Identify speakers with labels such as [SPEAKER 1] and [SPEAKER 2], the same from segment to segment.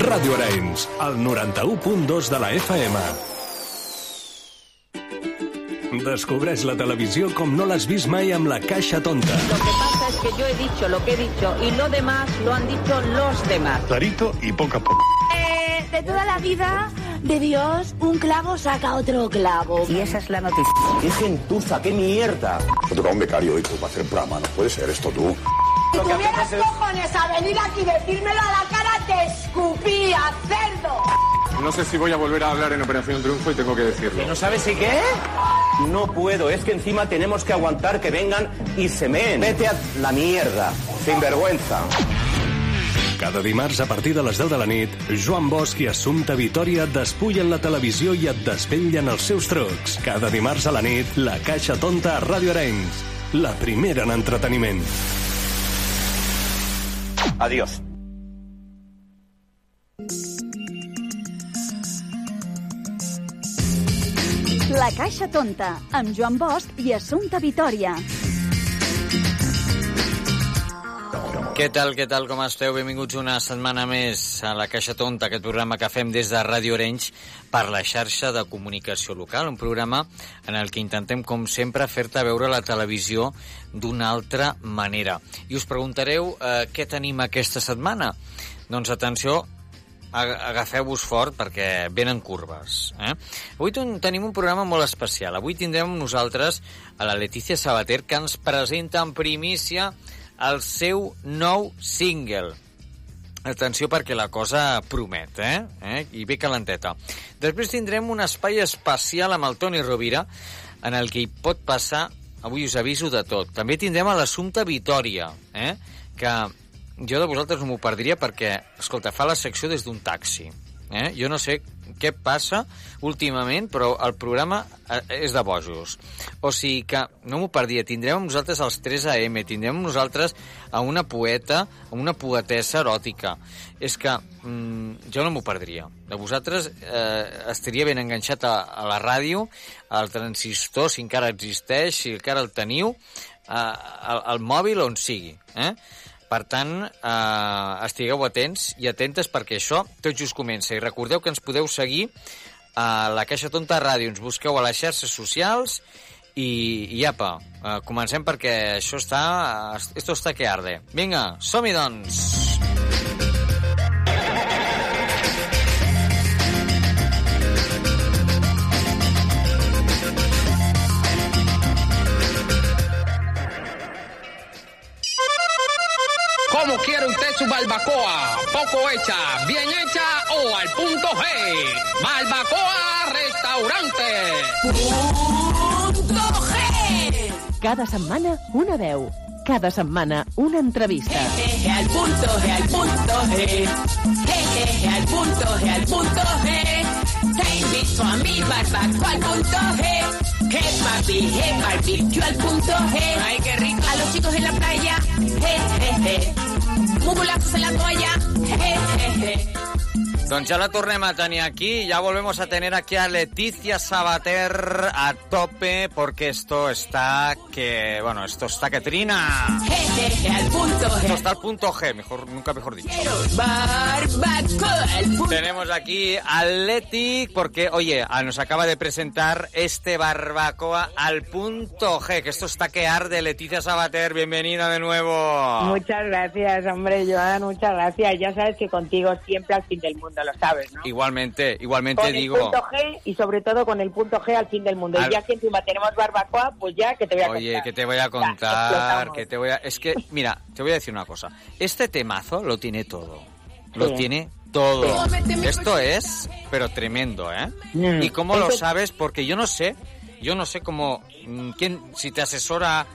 [SPEAKER 1] Ràdio Arenys, al 91.2 de la FM. Descobreix la televisió com no l'has vist mai amb la Caixa Tonta.
[SPEAKER 2] Lo que pasa es que yo he dicho lo que he dicho y lo demás lo han dicho los demás.
[SPEAKER 3] Clarito y poco a poco.
[SPEAKER 4] Eh, de toda la vida de Dios, un clavo saca otro clavo.
[SPEAKER 5] Y esa es la noticia.
[SPEAKER 6] ¡Qué gentuza, qué mierda!
[SPEAKER 7] Se toca un becario y tú para hacer programa, no puede ser esto tú.
[SPEAKER 8] Si tuvieras cojones a venir aquí y decírmelo a la cara, te escupía, cerdo.
[SPEAKER 9] No sé si voy a volver a hablar en Operación Triunfo y tengo que decirlo.
[SPEAKER 6] ¿No sabes si qué? No puedo, es que encima tenemos que aguantar que vengan y se meen. Vete a la mierda, sin vergüenza.
[SPEAKER 1] Cada dimarts a partir de les 10 de la nit, Joan Bosch i Assumpta Vitoria et despullen la televisió i et desvetllen els seus trucs. Cada dimarts a la nit, la Caixa Tonta a Ràdio Arenys. La primera en entreteniment.
[SPEAKER 6] Adiós.
[SPEAKER 10] La Caixa Tonta, amb Joan Bosch i Assumpta Vitoria.
[SPEAKER 11] Què tal, què tal, com esteu? Benvinguts una setmana més a la Caixa Tonta, aquest programa que fem des de Ràdio Orenys per la xarxa de comunicació local, un programa en el que intentem, com sempre, fer-te veure la televisió d'una altra manera. I us preguntareu eh, què tenim aquesta setmana? Doncs atenció, agafeu-vos fort perquè venen curves. Eh? Avui ten tenim un programa molt especial. Avui tindrem nosaltres a la Letícia Sabater que ens presenta en primícia el seu nou single. Atenció perquè la cosa promet, eh? eh? I ve calenteta. Després tindrem un espai especial amb el Toni Rovira en el que hi pot passar, avui us aviso de tot. També tindrem a l'assumpte Vitoria, eh? que jo de vosaltres no m'ho perdria perquè, escolta, fa la secció des d'un taxi. Eh? Jo no sé què passa últimament, però el programa eh, és de bojos. O sigui que no m'ho perdia. Tindrem amb nosaltres els 3 AM, tindrem amb nosaltres a una poeta, a una poetessa eròtica. És que mm, jo no m'ho perdria. De vosaltres eh, estaria ben enganxat a, a la ràdio, al transistor, si encara existeix, si encara el teniu, eh, al, al mòbil, on sigui. Eh? Per tant, eh, estigueu atents i atentes perquè això tot just comença. I recordeu que ens podeu seguir a la Caixa Tonta Ràdio. Ens busqueu a les xarxes socials i, i apa, eh, comencem perquè això està... eh, Esto està que arde. Vinga, som-hi, doncs!
[SPEAKER 12] ¿Cómo quiere usted su barbacoa? ¿Poco hecha, bien hecha o al punto G? Barbacoa Restaurante.
[SPEAKER 13] Punto G.
[SPEAKER 14] Cada setmana una veu. Cada setmana una entrevista.
[SPEAKER 15] Jejeje al punto G, al punto G. Jejeje al punto G, al punto G. Te invito a mi barbacoa al punto G. Hey papi, hey barbecue al punto G.
[SPEAKER 16] Ay, qué rico.
[SPEAKER 15] A los chicos en la playa, je, je, je. Mugulazos en la toalla, je, je, je.
[SPEAKER 11] Doncs ja la tornem a tenir aquí, ya volvemos a tener aquí a Leticia Sabater a tope, porque esto está que... bueno, esto está que trina.
[SPEAKER 15] Je, je, al punto G.
[SPEAKER 11] Esto está al punto G, mejor, nunca mejor dicho.
[SPEAKER 15] Barbacoa
[SPEAKER 11] Tenemos aquí a Leti, porque, oye, nos acaba de presentar este barbacoa barbacoa al punto G, que esto está que arde. Leticia Sabater, bienvenida de nuevo.
[SPEAKER 17] Muchas gracias, hombre, Joan, muchas gracias. Ya sabes que contigo siempre al fin del mundo, lo sabes, ¿no?
[SPEAKER 11] Igualmente, igualmente
[SPEAKER 17] con
[SPEAKER 11] digo.
[SPEAKER 17] Con el punto G y sobre todo con el punto G al fin del mundo. Al... Y ya que encima tenemos barbacoa, pues ya que te voy a
[SPEAKER 11] Oye,
[SPEAKER 17] contar.
[SPEAKER 11] Oye, que te voy a contar, ya, que te voy a... Es que, mira, te voy a decir una cosa. Este temazo lo tiene todo. Lo sí. tiene todo. Sí. Esto es, pero tremendo, ¿eh? Mm. ¿Y cómo Entonces... lo sabes? Porque yo no sé yo no sé cómo, mm, quién, si te asesora a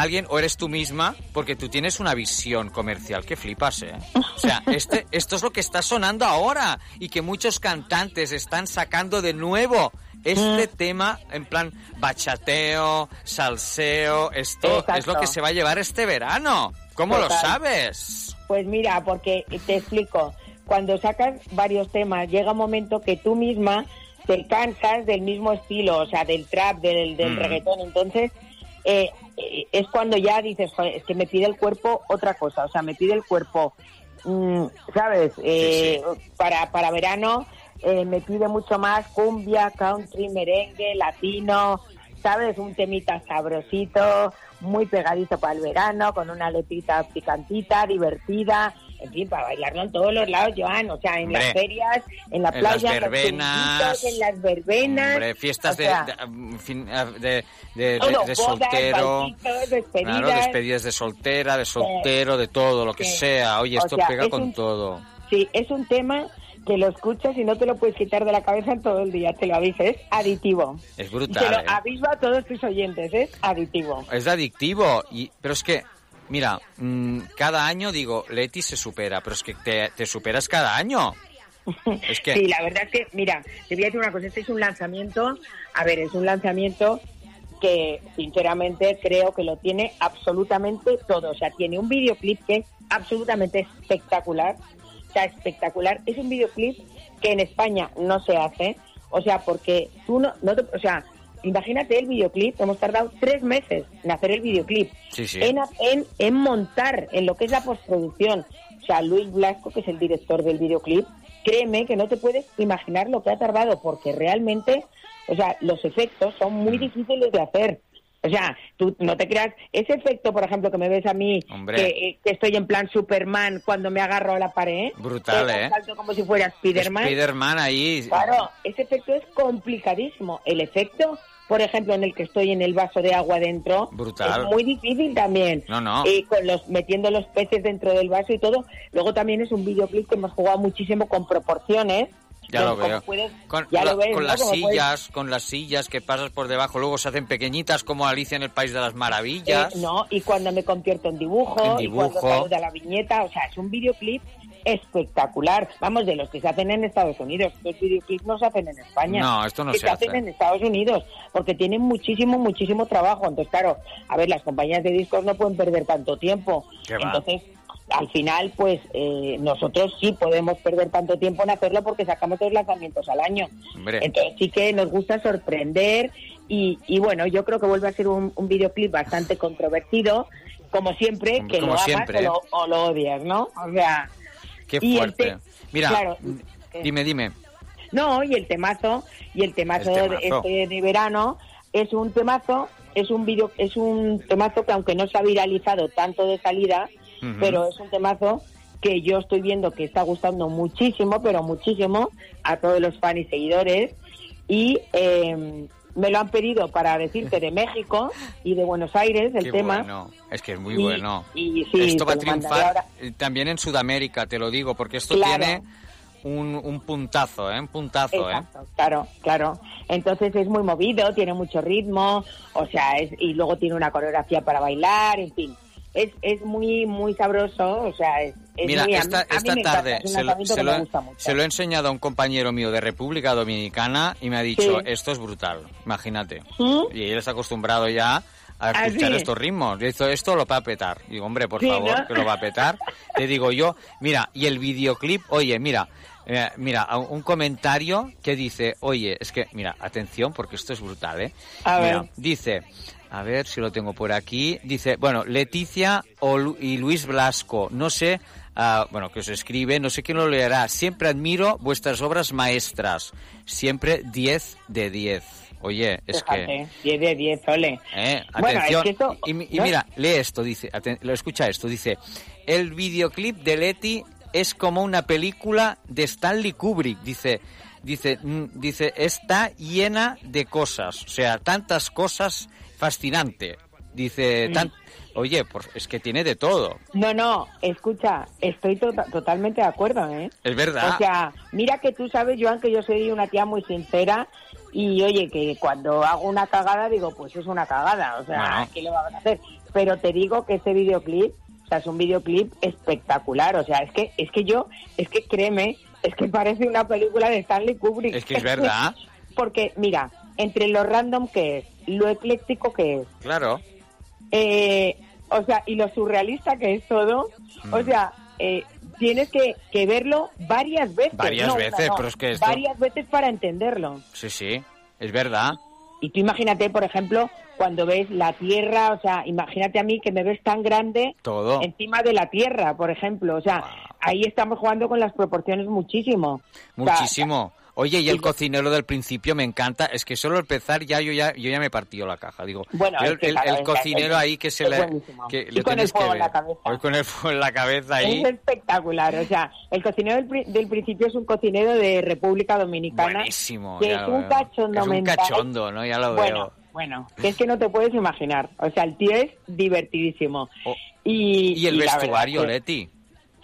[SPEAKER 11] alguien o eres tú misma, porque tú tienes una visión comercial que flipas, ¿eh? O sea, este, esto es lo que está sonando ahora y que muchos cantantes están sacando de nuevo. Este mm. tema, en plan bachateo, salseo, esto Exacto. es lo que se va a llevar este verano. ¿Cómo Total. lo sabes?
[SPEAKER 17] Pues mira, porque te explico. Cuando sacas varios temas, llega un momento que tú misma te cansas del mismo estilo, o sea, del trap, del, del mm. reggaetón. Entonces, eh, es cuando ya dices, Joder, es que me pide el cuerpo otra cosa, o sea, me pide el cuerpo mm, ¿sabes? Eh, Para, para verano eh, me pide mucho más cumbia, country, merengue, latino, ¿sabes? Un temita sabrosito, muy pegadizo para el verano, con una letrita picantita, divertida. En fin, para bailarlo en todos los lados, Joan. O sea, en las
[SPEAKER 11] Hombre.
[SPEAKER 17] ferias, en la
[SPEAKER 11] En
[SPEAKER 17] playa,
[SPEAKER 11] las
[SPEAKER 17] en los
[SPEAKER 11] verbenas.
[SPEAKER 17] pueblitos, en las verbenas.
[SPEAKER 11] Hombre, fiestas
[SPEAKER 17] O sea,
[SPEAKER 11] de, de- fin- ah, de, de- de-
[SPEAKER 17] todo,
[SPEAKER 11] de
[SPEAKER 17] bodas,
[SPEAKER 11] soltero.
[SPEAKER 17] bautitos, despedidas.
[SPEAKER 11] Claro, despedidas de soltera, de soltero, de todo, lo que sea.
[SPEAKER 17] O
[SPEAKER 11] Oye, esto
[SPEAKER 17] sea,
[SPEAKER 11] pega
[SPEAKER 17] es
[SPEAKER 11] con
[SPEAKER 17] un-
[SPEAKER 11] todo.
[SPEAKER 17] Sí, es un tema que lo escuchas y no te lo puedes quitar de la cabeza en todo el día, te lo aviso, es aditivo.
[SPEAKER 11] Es
[SPEAKER 17] te lo
[SPEAKER 11] brutal. ¿eh?
[SPEAKER 17] aviso a todos tus oyentes, es aditivo.
[SPEAKER 11] Es adictivo. Y, pero es que, mira, mm, cada año digo, Leti se supera, pero es que te, te superas cada año. Es que,
[SPEAKER 17] Sí, la verdad es que, mira, te voy a decir una cosa, este es un lanzamiento, a ver, es un lanzamiento que sinceramente creo que lo tiene absolutamente todo. O sea, tiene un videoclip que es absolutamente espectacular. O sea, espectacular. Es un videoclip que en España no se hace. O sea, porque tú no, no te- o sea, imagínate el videoclip, hemos tardado tres meses en hacer el videoclip
[SPEAKER 11] sí, sí.
[SPEAKER 17] en, en- en montar, en lo que es la postproducción. O sea, Luis Blasco, que es el director del videoclip, créeme que no te puedes imaginar lo que ha tardado, porque realmente, o sea, los efectos son muy
[SPEAKER 11] Mm.
[SPEAKER 17] difíciles de hacer. O sea, tú no te creas, ese efecto, por ejemplo, que me ves a mí,
[SPEAKER 11] Hombre.
[SPEAKER 17] que, eh, que estoy en plan Superman cuando me agarro a la pared,
[SPEAKER 11] Brutal,
[SPEAKER 17] que
[SPEAKER 11] ¿eh?
[SPEAKER 17] salto como si fuera Spiderman.
[SPEAKER 11] Spiderman ahí.
[SPEAKER 17] Claro, ese efecto es complicadísimo. El efecto, por ejemplo, en el que estoy en el vaso de agua dentro,
[SPEAKER 11] Brutal.
[SPEAKER 17] es muy difícil también.
[SPEAKER 11] No, no.
[SPEAKER 17] Y con los metiendo los peces dentro del vaso y todo. Luego también es un videoclip que hemos jugado muchísimo con proporciones.
[SPEAKER 11] Ya
[SPEAKER 17] Con- pues,
[SPEAKER 11] lo
[SPEAKER 17] como
[SPEAKER 11] veo.
[SPEAKER 17] puedes-
[SPEAKER 11] Con,
[SPEAKER 17] ya
[SPEAKER 11] la-
[SPEAKER 17] lo ves,
[SPEAKER 11] con
[SPEAKER 17] ¿no?
[SPEAKER 11] las
[SPEAKER 17] Como puedes-
[SPEAKER 11] sillas, con las sillas que pasas por debajo, luego se hacen pequeñitas como Alicia en el País de las
[SPEAKER 17] Eh,
[SPEAKER 11] Maravillas.
[SPEAKER 17] no, y cuando me convierto en dibujo,
[SPEAKER 11] En
[SPEAKER 17] y
[SPEAKER 11] dibujo.
[SPEAKER 17] cuando salgo de la viñeta, o sea, es un videoclip espectacular. Vamos, de los que se hacen en Estados Unidos. Estos videoclips no se hacen en España.
[SPEAKER 11] No, esto no
[SPEAKER 17] Que
[SPEAKER 11] se
[SPEAKER 17] se,
[SPEAKER 11] hace.
[SPEAKER 17] hacen en Estados Unidos, porque tienen muchísimo, muchísimo trabajo. Entonces, claro, a ver, las compañías de discos no pueden perder tanto tiempo.
[SPEAKER 11] ¿Qué va?
[SPEAKER 17] Entonces, al final, pues eh, nosotros sí podemos perder tanto tiempo en hacerlo porque sacamos dos lanzamientos al año.
[SPEAKER 11] Hombre.
[SPEAKER 17] Entonces sí que nos gusta sorprender y, y bueno, yo creo que vuelve a ser un, un videoclip bastante controvertido, como siempre,
[SPEAKER 11] Hombre,
[SPEAKER 17] que
[SPEAKER 11] como
[SPEAKER 17] lo amas
[SPEAKER 11] siempre,
[SPEAKER 17] o,
[SPEAKER 11] ¿eh?
[SPEAKER 17] lo, o lo odias, ¿no? O sea,
[SPEAKER 11] Qué
[SPEAKER 17] y el
[SPEAKER 11] fuerte.
[SPEAKER 17] te-
[SPEAKER 11] Mira,
[SPEAKER 17] claro,
[SPEAKER 11] dime, dime.
[SPEAKER 17] no, y el temazo, y el temazo,
[SPEAKER 11] El temazo.
[SPEAKER 17] De, este de verano es un temazo, es un video, es un temazo que aunque no se ha viralizado tanto de salida,
[SPEAKER 11] Ujú.
[SPEAKER 17] pero es un temazo que yo estoy viendo que está gustando muchísimo, pero muchísimo a todos los fans y seguidores y eh, me lo han pedido para decirte de México y de Buenos Aires el
[SPEAKER 11] Qué
[SPEAKER 17] tema.
[SPEAKER 11] bueno. Es que es muy
[SPEAKER 17] Y-
[SPEAKER 11] bueno.
[SPEAKER 17] y sí,
[SPEAKER 11] esto va a
[SPEAKER 17] te lo mandaré
[SPEAKER 11] triunfar
[SPEAKER 17] ahora.
[SPEAKER 11] eh, también en Sudamérica, te lo digo, porque esto
[SPEAKER 17] Claro.
[SPEAKER 11] tiene un, un puntazo, ¿eh? Un puntazo, ¿eh?
[SPEAKER 17] Exacto, claro, claro. Entonces es muy movido, tiene mucho ritmo, o sea, es, y luego tiene una coreografía para bailar, en fin. Es, es muy, muy sabroso, o sea, es, es
[SPEAKER 11] Mira,
[SPEAKER 17] muy... a mí-
[SPEAKER 11] esta,
[SPEAKER 17] a mí
[SPEAKER 11] esta
[SPEAKER 17] me encanta,
[SPEAKER 11] tarde
[SPEAKER 17] es un
[SPEAKER 11] se lo,
[SPEAKER 17] lanzamiento
[SPEAKER 11] se
[SPEAKER 17] que
[SPEAKER 11] lo
[SPEAKER 17] me
[SPEAKER 11] he-
[SPEAKER 17] gusta mucho.
[SPEAKER 11] se lo he enseñado a un compañero mío de República Dominicana y me ha dicho,
[SPEAKER 17] Sí.
[SPEAKER 11] esto es brutal, imagínate.
[SPEAKER 17] ¿Sí?
[SPEAKER 11] Y él está acostumbrado ya a
[SPEAKER 17] ¿Mm? Ah,
[SPEAKER 11] escuchar
[SPEAKER 17] sí.
[SPEAKER 11] estos ritmos. Y Esto, esto lo va a petar. Digo, hombre, por
[SPEAKER 17] Sí,
[SPEAKER 11] favor,
[SPEAKER 17] ¿no?
[SPEAKER 11] que lo va a petar. Te digo yo, mira, y el videoclip, oye, mira, eh, mira, a- un comentario que dice, oye, es que, mira, atención, porque esto es brutal, ¿eh?
[SPEAKER 17] A ver.
[SPEAKER 11] Mira, Dice, a ver si lo tengo por aquí, dice, bueno, Leticia o Lu- y Luis Blasco, no sé, ah, bueno, que os escribe, no sé quién lo leerá, siempre admiro vuestras obras maestras, siempre 10 de 10. Oye, es que...
[SPEAKER 17] Fíjate, 10 de 10, ole.
[SPEAKER 11] Eh,
[SPEAKER 17] Bueno, es
[SPEAKER 11] atención.
[SPEAKER 17] que esto-
[SPEAKER 11] y, y
[SPEAKER 17] ¿no?
[SPEAKER 11] mira, lee esto, dice, aten- lo escucha esto, dice, el videoclip de Leti es como una película de Stanley Kubrick, dice, dice, mm, dice, está llena de cosas, o sea, tantas cosas fascinante,
[SPEAKER 17] Mm.
[SPEAKER 11] dice, tan, oye, por- es que tiene de todo,
[SPEAKER 17] No, no, escucha, estoy to- totalmente de acuerdo, ¿eh?
[SPEAKER 11] es verdad.
[SPEAKER 17] O sea, mira que tú sabes, Joan, que yo soy una tía muy sincera y oye, que cuando hago una cagada digo, pues es una cagada, o sea,
[SPEAKER 11] Bueno.
[SPEAKER 17] ¿qué le vamos a hacer? Pero te digo que este videoclip, o sea, es un videoclip espectacular, o sea, es que es que yo, es que créeme, es que parece una película de Stanley Kubrick.
[SPEAKER 11] es que es verdad,
[SPEAKER 17] Porque mira, entre lo random que es, lo ecléctico que es,
[SPEAKER 11] claro.
[SPEAKER 17] eh, o sea, y lo surrealista que es todo,
[SPEAKER 11] Mm.
[SPEAKER 17] o sea, eh, tienes que, que verlo varias veces.
[SPEAKER 11] Varias
[SPEAKER 17] no una,
[SPEAKER 11] veces,
[SPEAKER 17] no,
[SPEAKER 11] pero es que esto-
[SPEAKER 17] Varias veces para entenderlo.
[SPEAKER 11] Sí, sí, es verdad.
[SPEAKER 17] Y tú imagínate, por ejemplo, cuando ves la tierra, o sea, imagínate a mí que me ves tan grande
[SPEAKER 11] Todo.
[SPEAKER 17] encima de la tierra, por ejemplo, o sea, ahí estamos jugando con las proporciones muchísimo. O sea,
[SPEAKER 11] Muchísimo. Oye, y el cocinero del principio me encanta. Es que solo empezar ya yo ya, yo ya me partió la caja. Digo,
[SPEAKER 17] Bueno,
[SPEAKER 11] yo
[SPEAKER 17] es
[SPEAKER 11] el,
[SPEAKER 17] que
[SPEAKER 11] el-
[SPEAKER 17] cada
[SPEAKER 11] el
[SPEAKER 17] vez-
[SPEAKER 11] cocinero
[SPEAKER 17] es-
[SPEAKER 11] ahí que se
[SPEAKER 17] es
[SPEAKER 11] le.
[SPEAKER 17] buenísimo.
[SPEAKER 11] que
[SPEAKER 17] Y
[SPEAKER 11] le
[SPEAKER 17] con el
[SPEAKER 11] tienes que
[SPEAKER 17] fuego en
[SPEAKER 11] ver.
[SPEAKER 17] la cabeza.
[SPEAKER 11] Hoy con el fuego en la cabeza ahí.
[SPEAKER 17] Es espectacular, o sea, el cocinero del, pri- del principio es un cocinero de República Dominicana.
[SPEAKER 11] Buenísimo.
[SPEAKER 17] que
[SPEAKER 11] ya
[SPEAKER 17] es
[SPEAKER 11] lo
[SPEAKER 17] un
[SPEAKER 11] veo.
[SPEAKER 17] cachondo
[SPEAKER 11] Es un
[SPEAKER 17] mental.
[SPEAKER 11] cachondo, ¿no? Ya lo
[SPEAKER 17] Bueno, bueno, que es que no te puedes imaginar. O sea, el tío es divertidísimo. Y,
[SPEAKER 11] veo. Oh, Y el
[SPEAKER 17] y la verdad
[SPEAKER 11] vestuario,
[SPEAKER 17] que-
[SPEAKER 11] Leti.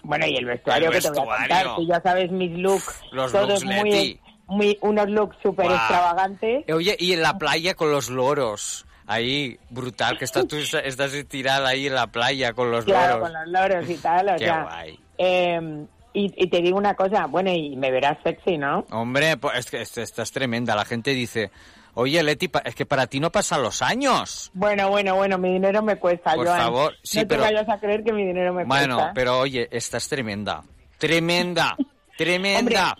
[SPEAKER 17] Bueno, y el vestuario
[SPEAKER 11] El
[SPEAKER 17] que te voy a contar,
[SPEAKER 11] vestuario.
[SPEAKER 17] que ya sabes mis looks,
[SPEAKER 11] Los
[SPEAKER 17] todos
[SPEAKER 11] looks,
[SPEAKER 17] muy,
[SPEAKER 11] Leti.
[SPEAKER 17] muy, unos looks súper
[SPEAKER 11] Guau.
[SPEAKER 17] extravagantes.
[SPEAKER 11] Eh, Oye, y en la playa con los loros. Ahí, brutal, que estás tú estás estirada ahí en la playa con los
[SPEAKER 17] Claro,
[SPEAKER 11] loros.
[SPEAKER 17] con los loros y tal, o
[SPEAKER 11] Qué
[SPEAKER 17] sea.
[SPEAKER 11] guay.
[SPEAKER 17] eh, y, y te digo una cosa, bueno, y me verás sexy, ¿no?
[SPEAKER 11] Hombre, pues es que est- estás tremenda. La gente dice, oye, Leti, pa- es que para ti no pasan los años.
[SPEAKER 17] Bueno, bueno, bueno, mi dinero me cuesta,
[SPEAKER 11] Por
[SPEAKER 17] Joan.
[SPEAKER 11] favor, sí,
[SPEAKER 17] no
[SPEAKER 11] pero-
[SPEAKER 17] te vayas a creer que mi dinero me
[SPEAKER 11] Bueno,
[SPEAKER 17] cuesta.
[SPEAKER 11] pero oye, estás tremenda. Tremenda, tremenda.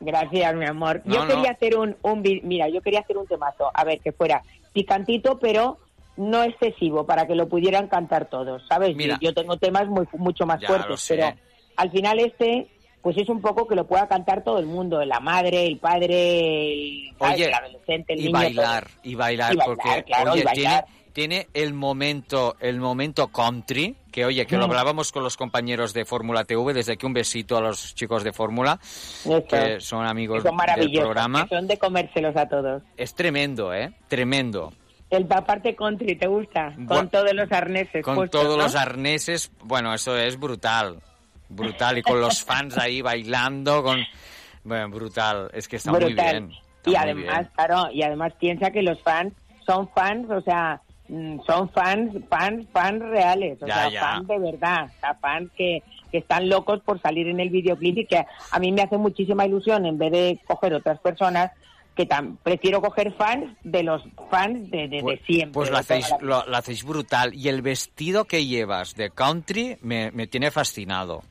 [SPEAKER 17] Gracias, mi amor.
[SPEAKER 11] No,
[SPEAKER 17] yo
[SPEAKER 11] no.
[SPEAKER 17] quería hacer un, un vi- mira, yo quería hacer un temazo, a ver, que fuera picantito, pero no excesivo, para que lo pudieran cantar todos, ¿sabes?
[SPEAKER 11] Mira.
[SPEAKER 17] Y Yo tengo temas muy, mucho más
[SPEAKER 11] Ya lo
[SPEAKER 17] fuertes,
[SPEAKER 11] sé.
[SPEAKER 17] pero al final este, pues es un poco que lo pueda cantar todo el mundo, la madre, el padre, el, ¿sabes?
[SPEAKER 11] Oye,
[SPEAKER 17] el adolescente, el
[SPEAKER 11] y
[SPEAKER 17] niño. pues,
[SPEAKER 11] bailar, y bailar,
[SPEAKER 17] Y bailar,
[SPEAKER 11] porque
[SPEAKER 17] claro,
[SPEAKER 11] oye,
[SPEAKER 17] y bailar.
[SPEAKER 11] Tiene, tiene el momento, el momento country, que oye, que lo
[SPEAKER 17] Mm.
[SPEAKER 11] hablábamos con los compañeros de Fórmula TV, desde aquí un besito a los chicos de Fórmula,
[SPEAKER 17] Eso.
[SPEAKER 11] que son
[SPEAKER 17] todo.
[SPEAKER 11] amigos
[SPEAKER 17] son
[SPEAKER 11] del
[SPEAKER 17] maravillosos,
[SPEAKER 11] programa.
[SPEAKER 17] que son de comérselos a todos.
[SPEAKER 11] Es tremendo, ¿eh? Tremendo.
[SPEAKER 17] El parte country, ¿te gusta?
[SPEAKER 11] Buah.
[SPEAKER 17] Con todos los arneses.
[SPEAKER 11] Con
[SPEAKER 17] puestos,
[SPEAKER 11] todos
[SPEAKER 17] ¿no?
[SPEAKER 11] los arneses, bueno, eso es brutal. Brutal, y con los fans ahí bailando, con... Bueno, brutal, es que está
[SPEAKER 17] Brutal.
[SPEAKER 11] muy bien.
[SPEAKER 17] y
[SPEAKER 11] está muy
[SPEAKER 17] además,
[SPEAKER 11] bien.
[SPEAKER 17] claro, y además piensa que los fans son fans, o sea, mm, son fans, fans, fans reales, o
[SPEAKER 11] Ya,
[SPEAKER 17] sea,
[SPEAKER 11] ya.
[SPEAKER 17] fans de verdad, o sea, fans que, que están locos por salir en el videoclip y que a mí me hace muchísima ilusión en vez de coger otras personas que tan, prefiero coger fans de los fans de, de- de siempre.
[SPEAKER 11] Pues lo
[SPEAKER 17] de toda
[SPEAKER 11] hacéis,
[SPEAKER 17] la-
[SPEAKER 11] lo, lo hacéis brutal. Y el vestido que llevas de country me, me tiene fascinado.